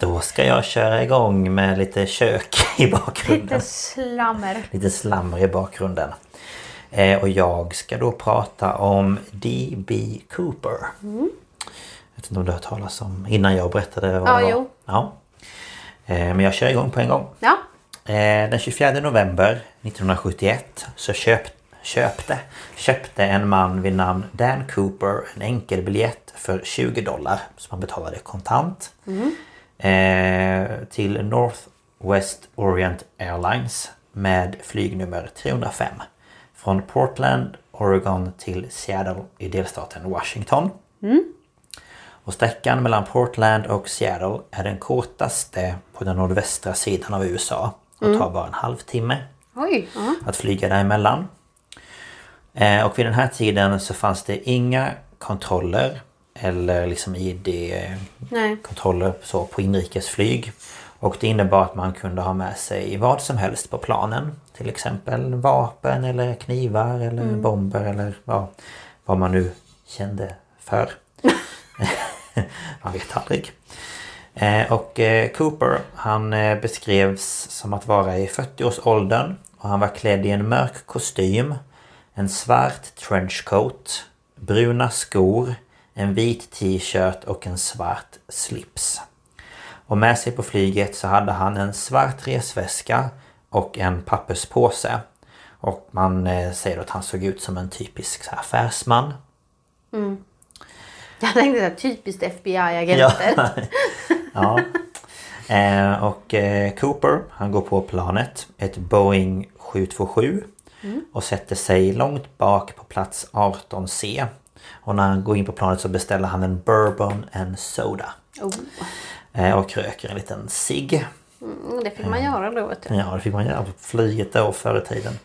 S2: Då ska jag köra igång med lite kök i bakgrunden.
S1: Lite slammer.
S2: lite slammer i bakgrunden. Eh, och jag ska då prata om D.B. Cooper.
S1: Mm.
S2: Jag vet inte om du har hört talas om innan jag berättade vad
S1: Ja,
S2: det var.
S1: jo.
S2: Ja. Eh, men jag kör igång på en gång.
S1: Ja,
S2: Eh, Den 24 november 1971 så köp, köpte, köpte en man vid namn Dan Cooper en enkelbiljett för 20 dollar som han betalade kontant eh, till Northwest Orient Airlines med flygnummer 305 från Portland, Oregon till Seattle i delstaten Washington. Och sträckan mellan Portland och Seattle är den kortaste på den nordvästra sidan av USA och tar bara en halvtimme
S1: oj. Ja.
S2: att flyga däremellan. Eh, och vid den här tiden så fanns det inga kontroller eller liksom
S1: Nej.
S2: ID-kontroller så på inrikesflyg. Och det innebar att man kunde ha med sig vad som helst på planen. Till exempel vapen eller knivar eller bomber eller ja, vad man nu kände för. man vet aldrig. Eh, Och eh, Cooper han eh, beskrevs som att vara i 40-årsåldern och han var klädd i en mörk kostym, en svart trenchcoat, bruna skor, en vit t-shirt och en svart slips. Och med sig på flyget så hade han en svart resväska och en papperspåse. Och man eh, säger att han såg ut som en typisk så här, affärsman.
S1: Jag tänkte såhär, typiskt FBI-agenter.
S2: Ja. ja. Eh, och eh, Cooper, han går på planet, ett Boeing 727 och sätter sig långt bak på plats 18C. Och när han går in på planet så beställer han en bourbon and soda.
S1: Oh,
S2: Eh, och röker en liten cigg.
S1: mm, det fick man göra då vet du.
S2: Ja, det fick man göra på flyget då förr i tiden.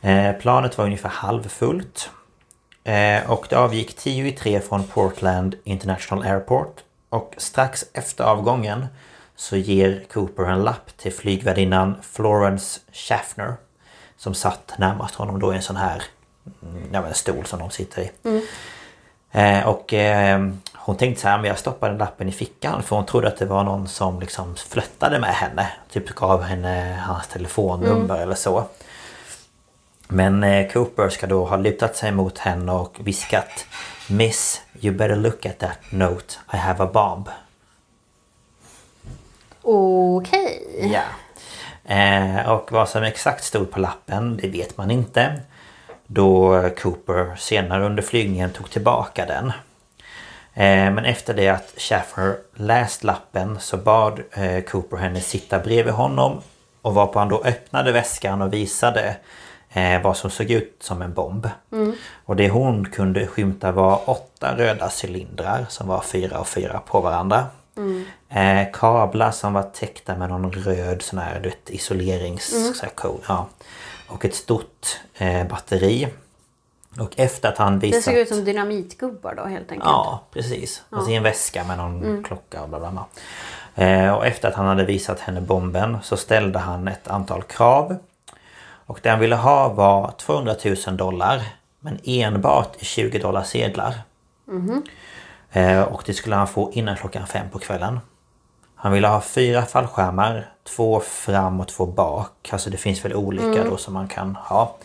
S2: Eh, planet var ungefär halvfullt. Eh, och det avgick 10 i 3 från Portland International Airport. Och strax efter avgången så ger Cooper en lapp till flygvärdinnan Florence Schaffner. Som satt närmast honom då i en sån här mm, ja, men en stol som de sitter i. Eh, och eh, hon tänkte så här, men jag stoppade lappen i fickan för hon trodde att det var någon som liksom flörtade med henne. Typ gav henne hans telefonnummer eller så. Men eh, Cooper ska då ha lutat sig mot henne och viskat Miss, you better look at that note. I have a bomb.
S1: Okej.
S2: Ja. Eh, och vad som exakt stod på lappen, det vet man inte. då Cooper senare under flygningen tog tillbaka den. Eh, Men efter det att Shaffer läst lappen så bad eh, Cooper henne sitta bredvid honom och varpå han då öppnade väskan och visade eh, vad som såg ut som en bomb.
S1: Mm.
S2: Och det hon kunde skymta var åtta röda cylindrar som var fyra och fyra på varandra.
S1: Mm.
S2: Eh, kablar som var täckta med någon röd sån här, du vet, isolerings...
S1: Mm.
S2: Så här, coat, ja. Och ett stort eh, batteri. Och efter att han
S1: Det
S2: visat...
S1: såg ut som dynamitgubbar då helt enkelt.
S2: Ja, precis. Och så i en väska med någon klocka och bla bla bla. Eh, och efter att han hade visat henne bomben så ställde han ett antal krav. Och det han ville ha var 200 000 dollar. Men enbart i 20 dollar sedlar. Eh, och det skulle han få innan klockan fem på kvällen. Han ville ha fyra fallskärmar. Två fram och två bak. Alltså det finns väl olika då som man kan ha.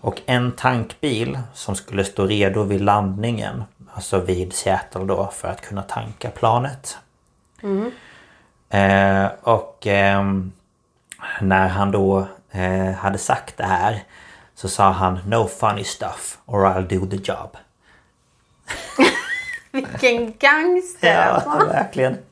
S2: Och en tankbil som skulle stå redo vid landningen. Alltså vid Seattle då för att kunna tanka planet. Eh, och ehm, när han då eh, hade sagt det här så sa han No funny stuff or I'll do the job.
S1: Vilken gangster!
S2: Ja, verkligen.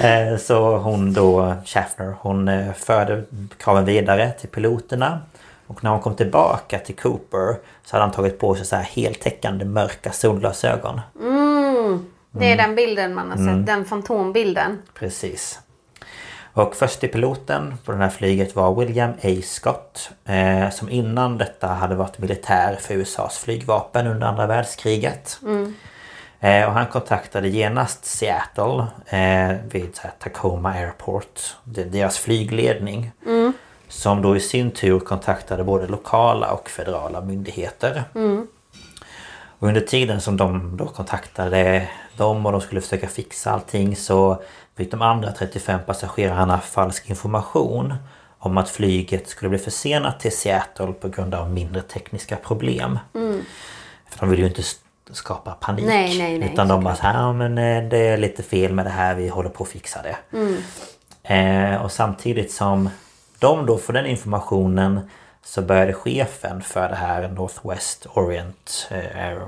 S2: Eh, Så hon då, Schaffner, hon eh, förde kraven vidare till piloterna. Och när hon kom tillbaka till Cooper så hade han tagit på sig så här heltäckande mörka solglasögon.
S1: Det är den bilden man har sett, den fantombilden.
S2: Precis. Och först i piloten på det här flyget var William A. Scott. Eh, som innan detta hade varit militär för USAs flygvapen under andra världskriget. Eh, och han kontaktade genast Seattle eh, vid så här, Tacoma Airport. de- Deras flygledning. Som då i sin tur kontaktade både lokala och federala myndigheter. Och under tiden som de då kontaktade dem och de skulle försöka fixa allting så fick de andra 35 passagerarna falsk information om att flyget skulle bli försenat till Seattle på grund av mindre tekniska problem. För de ville ju inte s- skapa panik.
S1: Mm. Nej, nej, nej,
S2: utan de bara så här, "Ja, men eh, det är lite fel med det här, vi håller på att fixa det.
S1: Mm.
S2: Eh, och samtidigt som de då får den informationen så började chefen för det här Northwest Orient eh, Air,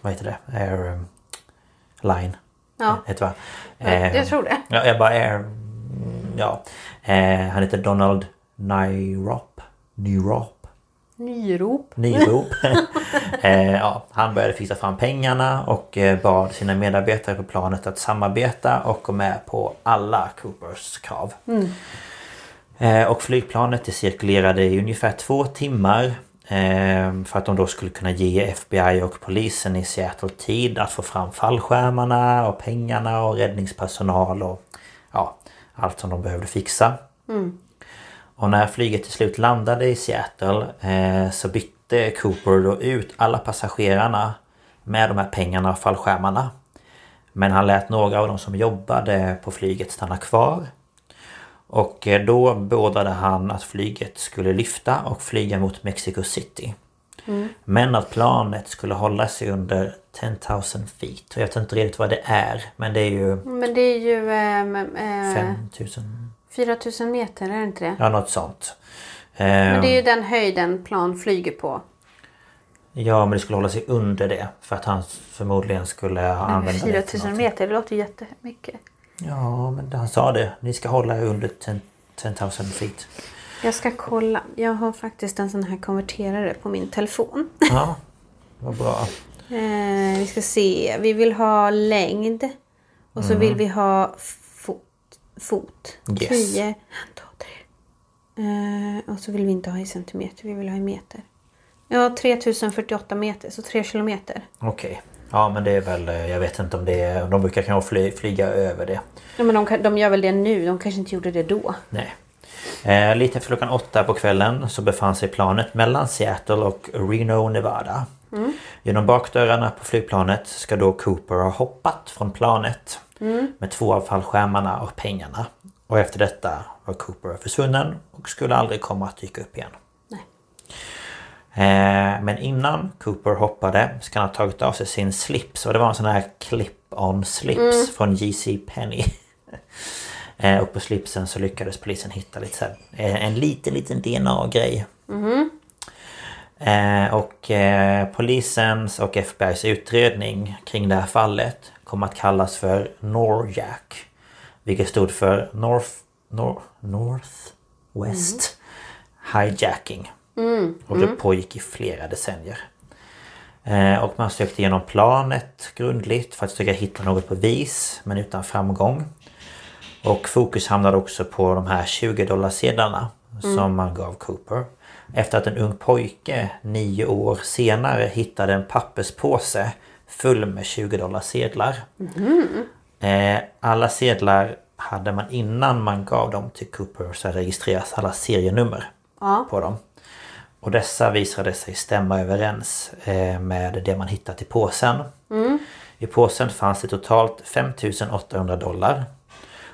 S2: vad heter det? Air eh, Line.
S1: Ja.
S2: Heter va? Eh,
S1: Jag tror det.
S2: Ja, jag bara Air... Ja. Eh, han heter Donald Nyrop. Nyrop.
S1: Nyrop.
S2: Nyrop. eh, ja, han började fixa fram pengarna och eh, bad sina medarbetare på planet att samarbeta och gå med på alla Coopers krav. Eh, och flygplanet det cirkulerade i ungefär två timmar. eh, För att de då skulle kunna ge FBI och polisen i Seattle tid att få fram fallskärmarna och pengarna och räddningspersonal och ja, allt som de behövde fixa. Och när flyget till slut landade i Seattle eh, så bytte Cooper då ut alla passagerarna med de här pengarna och fallskärmarna. Men han lät några av de som jobbade på flyget stanna kvar. Och eh, då beordrade han att flyget skulle lyfta och flyga mot Mexico City.
S1: Mm.
S2: Men att planet skulle hålla sig under 10 000 feet. Och jag vet inte riktigt vad det är. Men det är ju
S1: Men det är ju ehm, eh,
S2: 5 000...
S1: 4000 meter, är det inte det?
S2: Ja, något sånt.
S1: Men
S2: Ehm,
S1: det är ju den höjden plan flyger på.
S2: Ja, men det skulle hålla sig under det. För att han förmodligen skulle ha använt det. till
S1: 4000
S2: någonting.
S1: meter, det låter ju jättemycket.
S2: Ja, men han sa det. Ni ska hålla er under 10 10 000 feet.
S1: Jag ska kolla. Jag har faktiskt en sån här konverterare på min telefon.
S2: Ja, vad bra.
S1: Eh, vi ska se. Vi vill ha längd. Och så vill vi ha fot. fot.
S2: Mm. Yes.
S1: 10. en, två, tre. Eh, och så vill vi inte ha i centimeter. Vi vill ha i meter. Ja, 3048 meter. Så 3 kilometer.
S2: Okej. Ja, men det är väl... eh, Jag vet inte om det är... De brukar kanske fly, flyga över det.
S1: Ja, men de, kan- de gör väl det nu. De kanske inte gjorde det då.
S2: Nej. Eh, lite efter klockan åtta på kvällen så befann sig planet mellan Seattle och Reno, Nevada. Genom bakdörrarna på flygplanet ska då Cooper ha hoppat från planet med två av fallskärmarna och pengarna. Och efter detta var Cooper försvunnen och skulle aldrig komma att dyka upp igen.
S1: Nej.
S2: Eh, men innan Cooper hoppade ska han ha tagit av sig sin slips och det var en sån här clip-on slips från JC Penny. Eh, Och på slipsen så lyckades polisen hitta lite så här, eh, en liten, liten DNA-grej. Eh, och eh, polisens och FBI's utredning kring det här fallet kom att kallas för NORJAC. Vilket stod för North... Nor, North West Hijacking. Och det pågick i flera decennier. Eh, och man sökte igenom planet grundligt för att försöka hitta något bevis men utan framgång. Och fokus hamnade också på de här 20 dollarsedlarna som man gav Cooper. Efter att en ung pojke nio år senare hittade en papperspåse full med 20 dollarsedlar. Eh, alla sedlar hade man innan man gav dem till Cooper så registreras alla serienummer
S1: Ja.
S2: på dem. Och dessa visade sig stämma överens eh, med det man hittat i påsen. I påsen fanns det totalt 5800 dollar.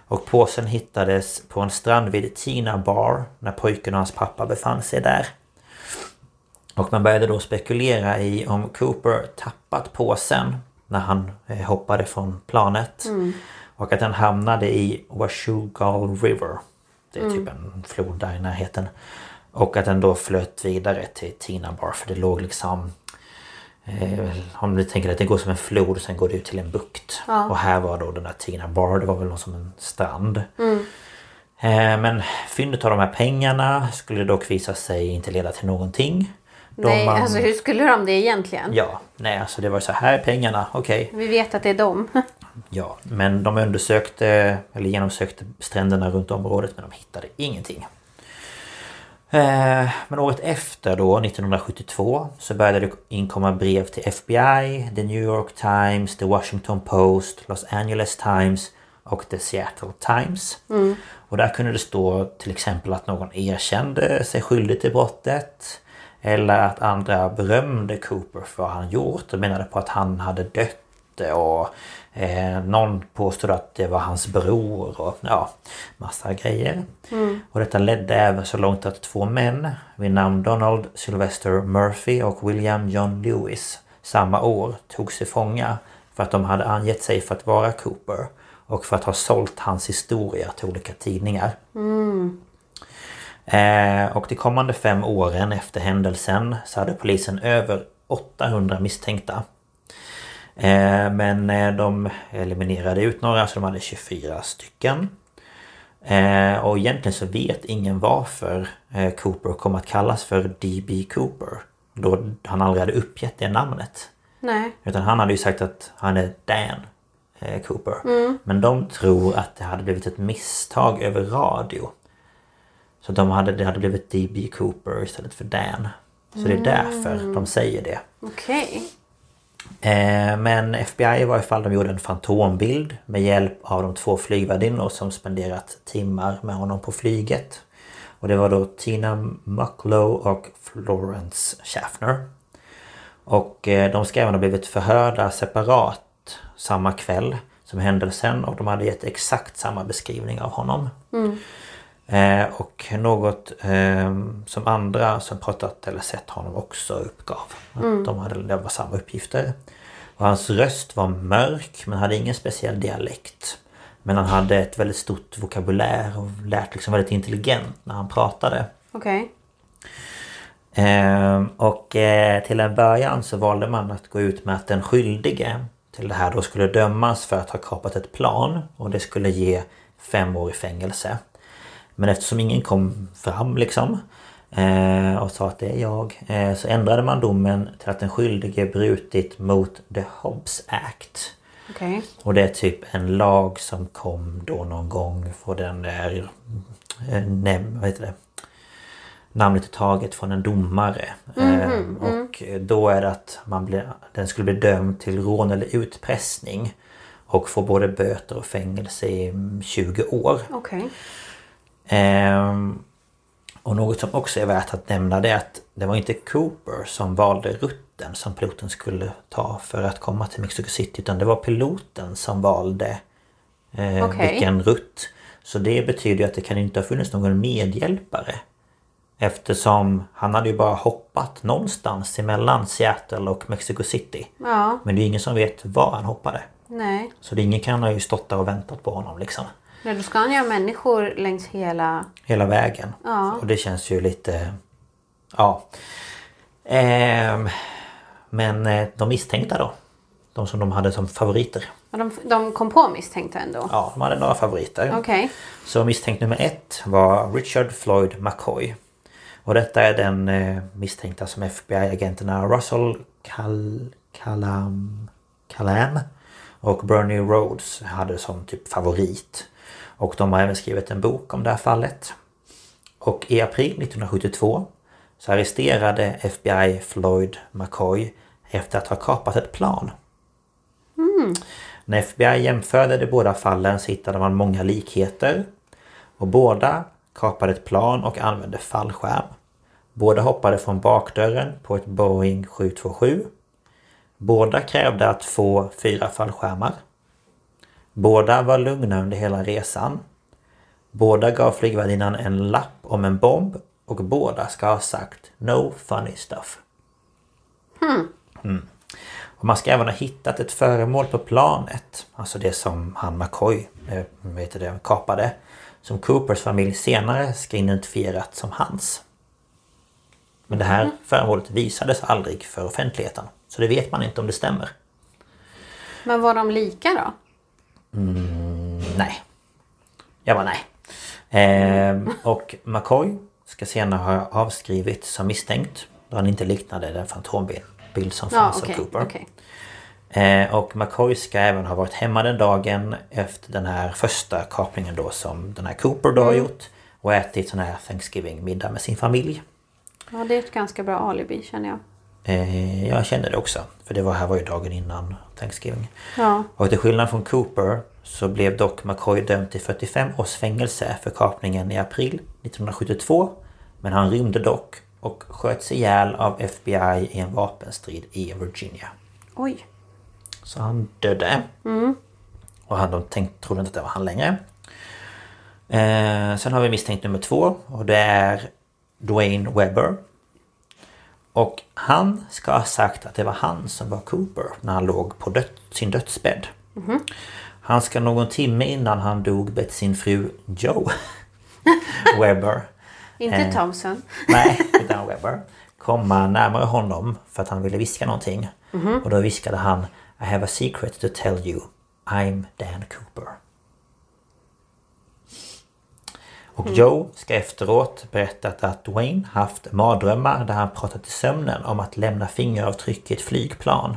S2: Och påsen hittades på en strand vid Tina Bar när pojken och hans pappa befann sig där. Och man började då spekulera i om Cooper tappat påsen när han eh, hoppade från planet. Och att den hamnade i Washugal River. Det är typ en flod där i närheten. Och att den då flöt vidare till Tina Bar för det låg liksom... Eh, om ni tänker att det går som en flod och sen går det ut till en bukt. Och här var då den där Tina Bar, det var väl någon som en strand.
S1: Mm.
S2: Eh, Men fyndet av de här pengarna skulle dock visa sig inte leda till någonting. Då
S1: Nej,
S2: man-
S1: alltså hur skulle de det egentligen?
S2: Ja, nej alltså det var så här är pengarna, okej.
S1: Vi vet att det är dem.
S2: Ja, men de undersökte eller genomsökte stränderna runt området men de hittade ingenting. Eh, Men året efter då, 1972, så började det inkomma brev till FBI, The New York Times, The Washington Post, Los Angeles Times och The Seattle Times. Och där kunde det stå till exempel att någon erkände sig skyldig till brottet. Eller att andra berömde Cooper för vad han gjort och menade på att han hade dött och eh, någon påstod att det var hans bror och ja, massa grejer. Och detta ledde även så långt att två män vid namn Donald Sylvester Murphy och William John Lewis samma år tog sig fånga för att de hade angett sig för att vara Cooper och för att ha sålt hans historia till olika tidningar. Eh, och de kommande fem åren efter händelsen så hade polisen över 800 misstänkta. Eh, Men eh, de eliminerade ut några så de hade 24 stycken. Eh, Och egentligen så vet ingen varför eh, Cooper kom att kallas för DB Cooper. Då han aldrig hade uppgett det namnet.
S1: Nej.
S2: Utan han hade ju sagt att han är Dan eh, Cooper. Men de tror att det hade blivit ett misstag över radio. Så de hade, det hade blivit DB Cooper istället för Dan. Så det är därför de säger det.
S1: Okej.
S2: Eh, Men FBI i varje fall, de gjorde en fantombild med hjälp av de två flygvärdinnor som spenderat timmar med honom på flyget. Och det var då Tina Mucklow och Florence Schaffner. Och eh, de ska även ha blivit förhörda separat samma kväll som händelsen och de hade gett exakt samma beskrivning av honom. Eh, och något eh, som andra som pratat eller sett honom också uppgav. Att de hade, det var samma uppgifter. Och hans röst var mörk men hade ingen speciell dialekt. Men han hade ett väldigt stort vokabulär och lät liksom väldigt intelligent när han pratade.
S1: Okej.
S2: Ehm, och eh, till en början så valde man att gå ut med att den skyldige till det här då skulle dömas för att ha kapat ett plan och det skulle ge fem år i fängelse. Men eftersom ingen kom fram liksom eh, och sa att det är jag eh, så ändrade man domen till att den skyldige brutit mot The Hobbs Act.
S1: Okej.
S2: Och det är typ en lag som kom då någon gång från den där... eh, Nej, vad heter det? Namnet är taget från en domare. Ehm, och då är det att man blir, den skulle bli dömd till rån eller utpressning. Och få både böter och fängelse i 20 år.
S1: Okej.
S2: Ehm, och något som också är värt att nämna det är att det var inte Cooper som valde rutten som piloten skulle ta för att komma till Mexico City utan det var piloten som valde eh,
S1: Okej.
S2: vilken rutt. Så det betyder ju att det kan inte ha funnits någon medhjälpare. Eftersom han hade ju bara hoppat någonstans emellan Seattle och Mexico City.
S1: Ja.
S2: Men det är ju ingen som vet var han hoppade.
S1: Nej.
S2: Så det är ingen kan ha ju stått där och väntat på honom liksom.
S1: Nej, då ska han ju ha människor längs hela...
S2: hela vägen.
S1: Ja.
S2: Och det känns ju lite... Ja. Ehm, men eh, de misstänkta då? De som de hade som favoriter.
S1: Och De, de kom på misstänkta ändå.
S2: Ja, de hade några favoriter.
S1: Okej.
S2: Så misstänkt nummer ett var Richard Floyd McCoy. Och detta är den eh, misstänkta som FBI-agenterna Russell Cal- Calam- Calam och Bernie Rhodes hade som typ favorit. Och de har även skrivit en bok om det här fallet. Och i april 1972 så arresterade FBI Floyd McCoy efter att ha kapat ett plan. När FBI jämförde de båda fallen så hittade man många likheter. Och båda kapade ett plan och använde fallskärm. Båda hoppade från bakdörren på ett Boeing 727. Båda krävde att få fyra fallskärmar. Båda var lugna under hela resan. Båda gav flygvärdinnan en lapp om en bomb och båda ska ha sagt No funny stuff. Och man ska även ha hittat ett föremål på planet. Alltså det som han McCoy eh, vet du det, kapade. Som Coopers familj senare ska identifierat som hans. Men det
S1: Mhm.
S2: här föremålet visades aldrig för offentligheten. Så det vet man inte om det stämmer.
S1: Men var de lika då?
S2: Nej. Jag var nej. Ehm, och McCoy ska senare ha avskrivits som misstänkt. Då han inte liknade den fantombild bild som
S1: Ja,
S2: fanns av
S1: okej.
S2: Cooper.
S1: okej.
S2: Eh, och McCoy ska även ha varit hemma den dagen efter den här första kapningen då som den här Cooper då har gjort. Och ätit sån här Thanksgiving-middag med sin familj.
S1: Ja, det är ett ganska bra alibi känner jag.
S2: Eh, jag kände det också. För det var, här var ju dagen innan Thanksgiving.
S1: Ja.
S2: Och till skillnad från Cooper så blev dock McCoy dömd till 45 års fängelse för kapningen i april 1972. Men han rymde dock och sköts ihjäl av FBI i en vapenstrid i Virginia.
S1: Oj.
S2: Så han dödde. Och han, de tänkte, trodde inte att det var han längre. Eh, sen har vi misstänkt nummer två och det är Dwayne Webber. Och han ska ha sagt att det var han som var Cooper när han låg på död, sin dödsbädd. Han ska någon timme innan han dog bett sin fru Joe Webber Eh.
S1: Inte Thompson.
S2: Nej, utan Webber. Komma närmare honom för att han ville viska någonting. Och då viskade han I have a secret to tell you. I'm Dan Cooper. Och Joe ska efteråt berättat att Dwayne haft mardrömmar där han pratat i sömnen om att lämna fingeravtryck i ett flygplan.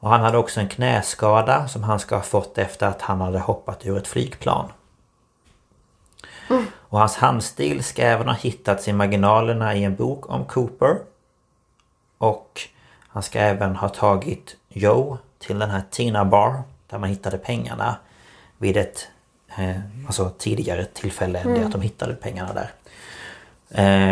S2: Och han hade också en knäskada som han ska ha fått efter att han hade hoppat ur ett flygplan. Och hans handstil ska även ha hittats i marginalerna i en bok om Cooper. Och han ska även ha tagit Joe till den här Tina Bar där man hittade pengarna vid ett eh, alltså tidigare tillfälle än det att de hittade pengarna där.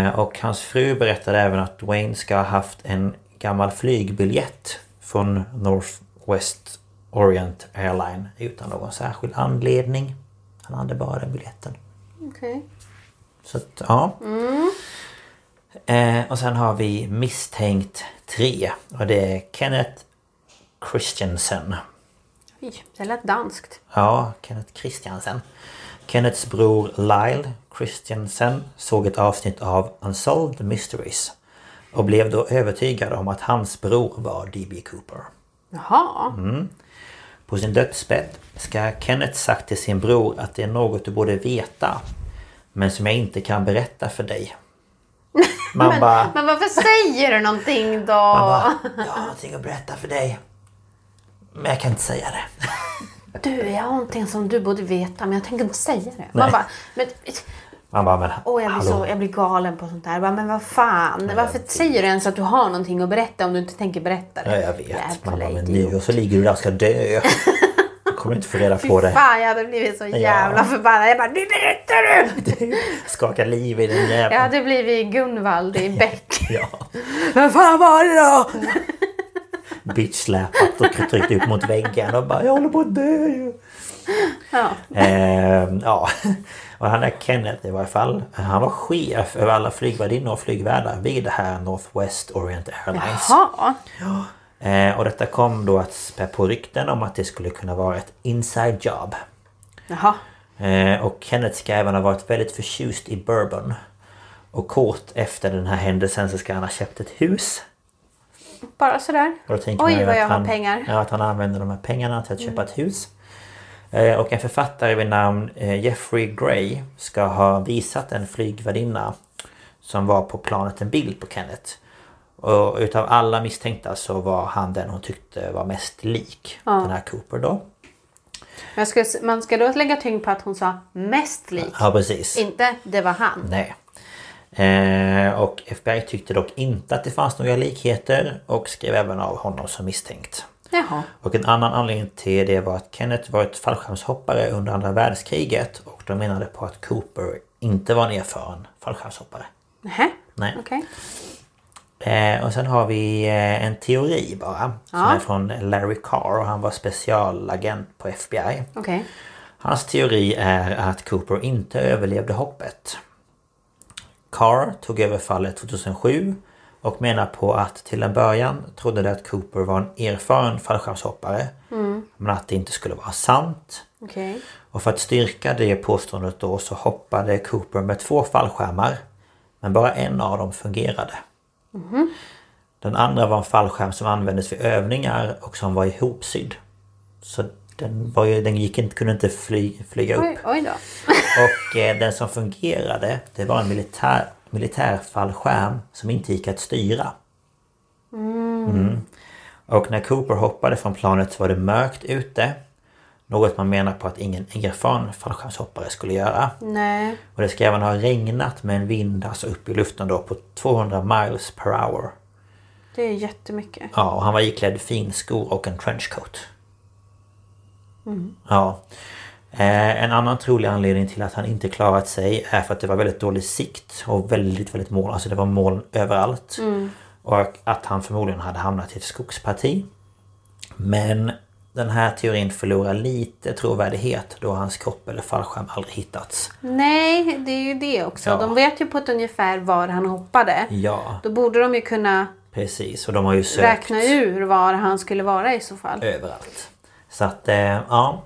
S2: Eh, och hans fru berättade även att Dwayne ska ha haft en gammal flygbiljett från Northwest Orient Airline utan någon särskild anledning. Han hade bara den biljetten.
S1: Okej.
S2: Så att, ja. Eh, och sen har vi misstänkt tre. Och det är Kenneth Christiansen.
S1: Oj, det lät danskt.
S2: Ja, Kenneth Christiansen. Kenneths bror Lyle Christiansen såg ett avsnitt av Unsolved Mysteries. Och blev då övertygad om att hans bror var D.B. Cooper.
S1: Jaha.
S2: Mm. På sin dödsbädd ska Kenneth sagt till sin bror att det är något du borde veta. Men som jag inte kan berätta för dig. Man bara...
S1: Men varför säger du någonting då?
S2: Man bara, jag har någonting att berätta för dig. Men jag kan inte säga det.
S1: Du, jag har någonting som du borde veta men jag tänker inte säga det. Man bara, men,
S2: Man bara, men
S1: åh, jag, blir så, jag blir galen på sånt där. Jag Bara, men vad fan, varför säger du ens att du har någonting att berätta om du inte tänker berätta det?
S2: Ja, jag vet.
S1: Jävla
S2: Man bara, men
S1: idiot.
S2: nu och så ligger du där och ska dö. Jag kommer inte få reda på det.
S1: Fan, jag hade blivit så jävla förbannad. Jag bara, nu berättar du!
S2: Skaka liv i den
S1: Jag
S2: jäveln.
S1: hade blivit Gunvald i Beck.
S2: Ja.
S1: Vad fan var det då?
S2: Bitch-släpat och tryckt upp mot väggen och bara, jag håller på att dö ju.
S1: Ja.
S2: Ehm, ja, och han är Kenneth i varje fall. Han var chef över alla flygvärdinnor och flygvärdar vid det här Northwest Orient Airlines.
S1: Jaha.
S2: Eh, och detta kom då att spä på rykten om att det skulle kunna vara ett inside job.
S1: Jaha.
S2: Eh, och Kenneth ska även ha varit väldigt förtjust i bourbon. Och kort efter den här händelsen så ska han ha köpt ett hus.
S1: Bara sådär.
S2: Och då tänker man
S1: Oj
S2: ju
S1: vad
S2: att
S1: jag har
S2: han,
S1: pengar. Mm.
S2: Ja, att han använder de här pengarna till att köpa ett hus. Eh, Och en författare vid namn eh, Jeffrey Gray ska ha visat en flygvärdinna som var på planet en bild på Kenneth. Och utav alla misstänkta så var han den hon tyckte var mest lik
S1: Ja.
S2: den här Cooper då.
S1: Men jag skulle, man ska då lägga tyngd på att hon sa mest lik.
S2: Ja precis.
S1: Inte det var han.
S2: Nej. Eh, och FBI tyckte dock inte att det fanns några likheter och skrev även av honom som misstänkt.
S1: Jaha.
S2: Och en annan anledning till det var att Kenneth var ett fallskärmshoppare under andra världskriget och de menade på att Cooper inte var en erfaren fallskärmshoppare.
S1: Nähä.
S2: Nej.
S1: Okej.
S2: Eh, och sen har vi eh, en teori bara. Som
S1: Ja.
S2: är från Larry Carr och han var specialagent på FBI.
S1: Okej.
S2: Hans teori är att Cooper inte överlevde hoppet. Carr tog över fallet 2007 och menar på att till en början trodde de att Cooper var en erfaren fallskärmshoppare. Men att det inte skulle vara sant.
S1: Okej.
S2: Och för att styrka det påståendet då så hoppade Cooper med två fallskärmar. Men bara en av dem fungerade. Den andra var en fallskärm som användes vid övningar och som var ihopsydd. Så den, var ju, den gick inte, kunde inte fly, flyga upp.
S1: Oj, oj då.
S2: Och eh, den som fungerade det var en militär, militärfallskärm som inte gick att styra. Mm. Och när Cooper hoppade från planet så var det mörkt ute. Något man menar på att ingen erfaren fallskärmshoppare skulle göra.
S1: Nej.
S2: Och det ska även ha regnat med en vind alltså upp i luften då på 200 miles per hour.
S1: Det är jättemycket.
S2: Ja, och han var iklädd finskor och en trenchcoat. Ja. Eh, en annan trolig anledning till att han inte klarat sig är för att det var väldigt dålig sikt och väldigt, väldigt moln. Alltså det var moln överallt. Och att han förmodligen hade hamnat i ett skogsparti. Men den här teorin förlorar lite trovärdighet då hans kropp eller fallskärm aldrig hittats.
S1: Mm. Nej, det är ju det också.
S2: Ja.
S1: De vet ju på ett ungefär var han hoppade.
S2: Ja,
S1: Då borde de ju kunna
S2: precis. Och de har ju sökt.
S1: räkna ur var han skulle vara i så fall.
S2: överallt. Så att, eh, ja.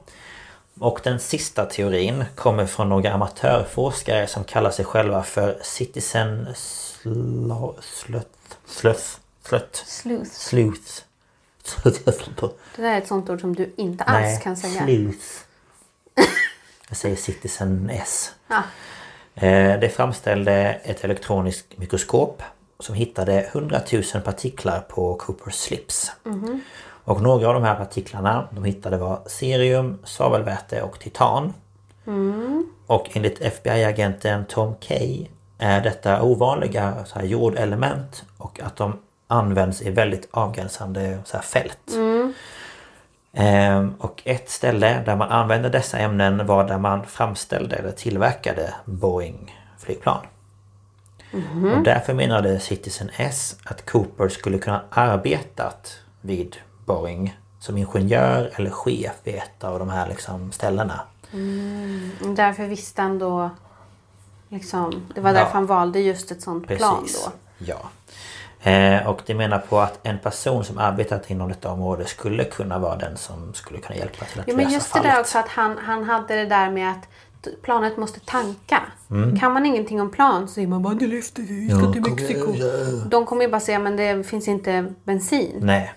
S2: Och den sista teorin kommer från några amatörforskare som kallar sig själva för Citizen Slo- Slöth. Slöth. Slöth.
S1: Sleuth.
S2: Sleuth. Slöth.
S1: Det där är ett sånt ord som du inte alls
S2: Nej,
S1: kan säga.
S2: Sleuth. Jag säger Citizen S.
S1: Ja.
S2: Eh, Det framställde ett elektroniskt mikroskop som hittade 100 000 partiklar på Coopers slips.
S1: Mhm.
S2: Och några av de här partiklarna de hittade var cerium, svavelväte och titan.
S1: Mm.
S2: Och enligt FBI-agenten Tom Kay är detta ovanliga så här, jordelement och att de används i väldigt avgränsande så här, fält. Ehm, och ett ställe där man använde dessa ämnen var där man framställde eller tillverkade Boeing-flygplan.
S1: Mhm.
S2: Och därför menade Citizen S att Cooper skulle kunna ha arbetat vid Boeing som ingenjör eller chef vid ett av de här liksom, ställena.
S1: Därför visste han då... Liksom, det var därför
S2: Ja.
S1: han valde just ett sånt plan då.
S2: Ja. Eh, och det menar på att en person som arbetat inom detta område skulle kunna vara den som skulle kunna hjälpa till att
S1: Jo, men
S2: lösa
S1: just det
S2: fallet.
S1: där också att han, han hade det där med att t- planet måste tanka.
S2: Mm.
S1: Kan man ingenting om plan så säger man bara det lyfter vi, vi ska till Mexiko. De kommer ju bara säga men det finns inte bensin.
S2: Nej.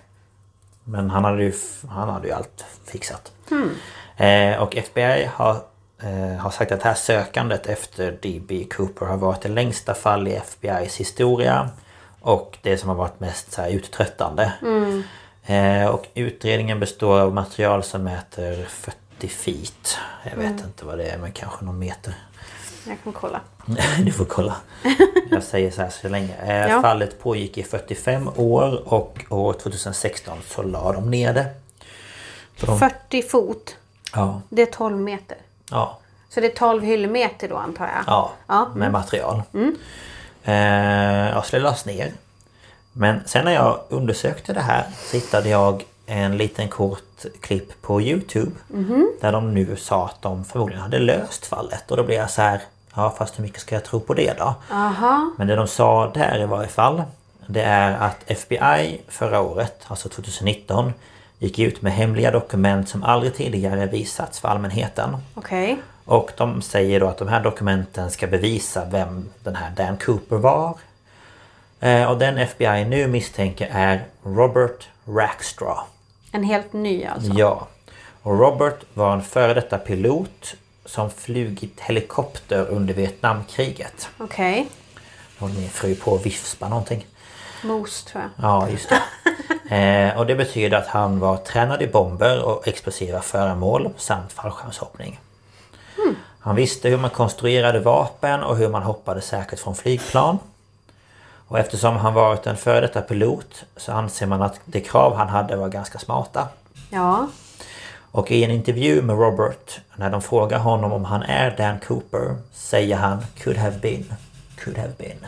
S2: Men han hade ju, han hade ju allt fixat. Eh, och FBI har, eh, har sagt att det här sökandet efter D.B. Cooper har varit det längsta fall i FBI's historia. Och det som har varit mest så här, uttröttande. Eh, och utredningen består av material som mäter 40 feet. Jag vet inte vad det är men kanske någon meter.
S1: Jag kan kolla.
S2: Du får kolla. Jag säger så här så länge. Eh,
S1: Ja.
S2: Fallet pågick i 45 år och år 2016 så la de ner det. Så de,
S1: 40 fot,
S2: ja,
S1: det är 12 meter.
S2: ja,
S1: Så det är 12 hyllmeter då antar jag.
S2: ja,
S1: Ja, Mm.
S2: med material. Eh, ja, så det lades ner. Men sen när jag undersökte det här så hittade jag en liten kort klipp på Youtube.
S1: Mhm.
S2: Där de nu sa att de förmodligen hade löst fallet. Och då blev jag så här, ja fast hur mycket ska jag tro på det då?
S1: Aha.
S2: Men det de sa där i varje fall Det är att FBI förra året, alltså 2019 gick ut med hemliga dokument som aldrig tidigare visats för allmänheten.
S1: Okej.
S2: Och de säger då att de här dokumenten ska bevisa vem den här Dan Cooper var. Eh, Och den FBI nu misstänker är Robert Rackstraw.
S1: En helt ny alltså.
S2: Ja. Och Robert var en före detta pilot som flugit helikopter under Vietnamkriget.
S1: Okej.
S2: Nu håller min fru på att vifspa någonting.
S1: Mos tror jag.
S2: Ja, just det. Eh, och det betyder att han var tränad i bomber och explosiva föremål samt fallskärmshoppning. Han visste hur man konstruerade vapen och hur man hoppade säkert från flygplan. Och eftersom han varit en före detta pilot så anser man att de krav han hade var ganska smarta.
S1: Ja.
S2: Och i en intervju med Robert, när de frågar honom om han är Dan Cooper, säger han “could have been, could have been”.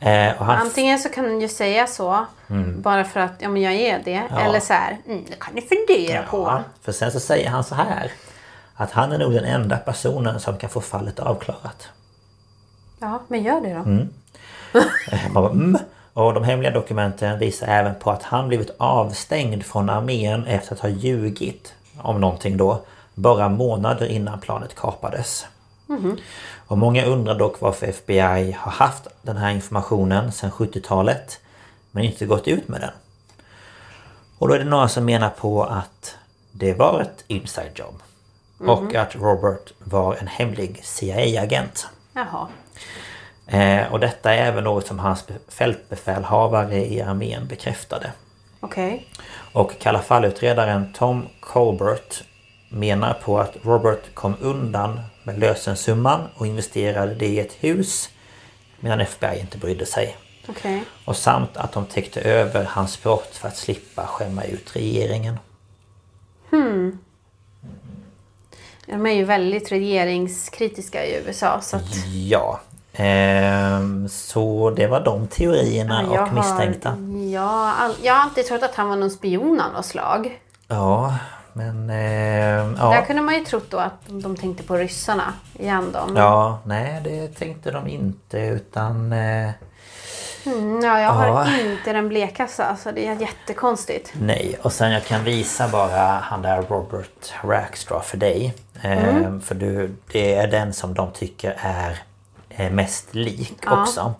S2: Eh, och han
S1: Antingen så kan han ju säga så.
S2: Mm.
S1: Bara för att ja, men jag är det. Eller så här. Mm, det kan ni fundera på.
S2: För sen så säger han så här. Att han är nog den enda personen som kan få fallet avklarat.
S1: Ja, men gör det då.
S2: Mm. Man bara, mm. Och de hemliga dokumenten visar även på att han blivit avstängd från armén efter att ha ljugit om någonting då. Bara månader innan planet kapades. Och många undrar dock varför FBI har haft den här informationen sedan 70-talet men inte gått ut med den. Och då är det några som menar på att det var ett inside job. Och att Robert var en hemlig CIA-agent.
S1: Jaha.
S2: Eh, och detta är även något som hans be- fältbefälhavare i armén bekräftade.
S1: Okej.
S2: Och Kalla fall-utredaren Tom Colbert menar på att Robert kom undan med lösensumman och investerade det i ett hus medan FBI inte brydde sig.
S1: Okej.
S2: Och samt att de täckte över hans brott för att slippa skämma ut regeringen.
S1: De är ju väldigt regeringskritiska i USA. Så att,
S2: Mm. Ja, ehm, så det var de teorierna
S1: jag
S2: och misstänkta.
S1: Har, ja, all, jag har alltid trott att han var någon spion av något slag.
S2: Ja, men... ehm, ja.
S1: Där kunde man ju trott då att de tänkte på ryssarna igen då. Men-
S2: Ja, nej det tänkte de inte utan... Eh,
S1: Mm, ja, jag har
S2: Ja.
S1: inte den blekaste. Alltså, det är jättekonstigt.
S2: nej, och sen jag kan visa bara han där Robert Rackstraw för dig. Eh, För du, det är den som de tycker är eh, mest lik också.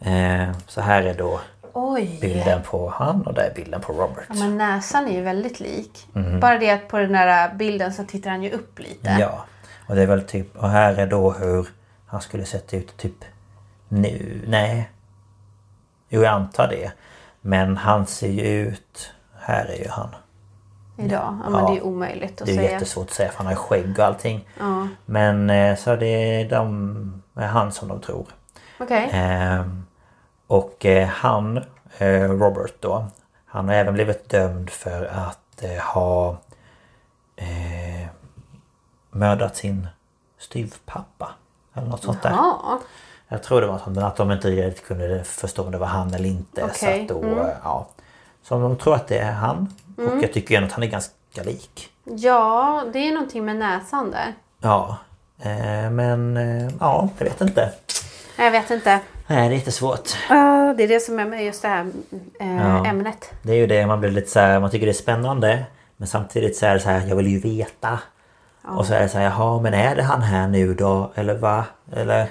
S2: Eh, så här är då
S1: Oj!
S2: bilden på han och där är bilden på Robert.
S1: Men näsan är ju väldigt lik. Bara det att på den där bilden så tittar han ju upp lite.
S2: Mhm. Ja, och det är väl typ... Och här är då hur han skulle sett ut typ nu. Nej. Jo, jag antar det. Men han ser ju ut... Här är ju han.
S1: Idag. Ja, men
S2: Ja.
S1: det är omöjligt att
S2: Det är
S1: säga.
S2: jättesvårt att säga för han har ju skägg och allting. Men eh, så det är, de, är han som de tror.
S1: Okej.
S2: Ehm, Och eh, han, eh, Robert då, han har även blivit dömd för att eh, ha eh, mördat sin styvpappa. Eller något sånt där.
S1: Ja.
S2: Jag tror det var sånt, men att de inte riktigt kunde förstå om det var han eller inte. Så
S1: Okej,
S2: att då, eh, ja. Så om de tror att det är han. Och jag tycker ändå att han är ganska lik.
S1: ja, det är någonting med näsan där.
S2: Ja, eh, men eh, ja, jag vet inte.
S1: Jag vet inte.
S2: Nej, det är jättesvårt.
S1: Ja, det är det som är med just det här eh,
S2: Ja.
S1: ämnet.
S2: Det är ju det, man blir lite så här, man tycker det är spännande. Men samtidigt så är det så här, jag vill ju veta. Och så är det så här, jaha, men är det han här nu då? Eller va? Eller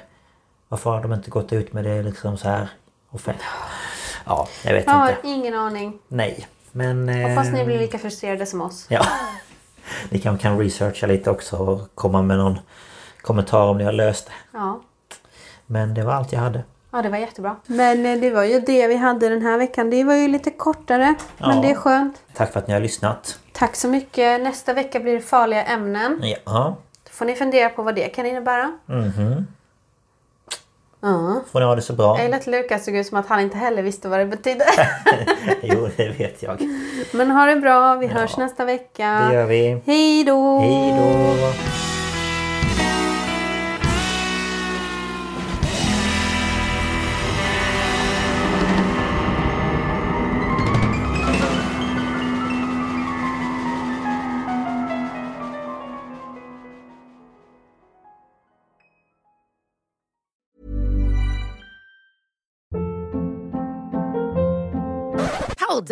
S2: varför har de inte gått ut med det liksom så här? offent- Ja, jag vet
S1: Jag har
S2: inte.
S1: ingen aning.
S2: Nej, men...
S1: Hoppas ni
S2: eh,
S1: blir lika frustrerade som oss.
S2: Ja. Ni kanske kan researcha lite också och komma med någon kommentar om ni har löst det.
S1: Ja.
S2: Men det var allt jag hade.
S1: ja, det var jättebra. Men eh, det var ju det vi hade den här veckan. Det var ju lite kortare, men
S2: Ja.
S1: det är skönt.
S2: Tack för att ni har lyssnat.
S1: Tack så mycket. Nästa vecka blir det farliga ämnen.
S2: Ja,
S1: Då får ni fundera på vad det kan innebära. Ja.
S2: får ni ha det så bra.
S1: Jag gillar att Lukas såg ut som att han inte heller visste vad det betydde.
S2: Jo, det vet jag. Det
S1: Men ha det bra. Vi hörs nästa vecka.
S2: gör vi.
S1: Hej då!
S2: Hej då!
S3: Hold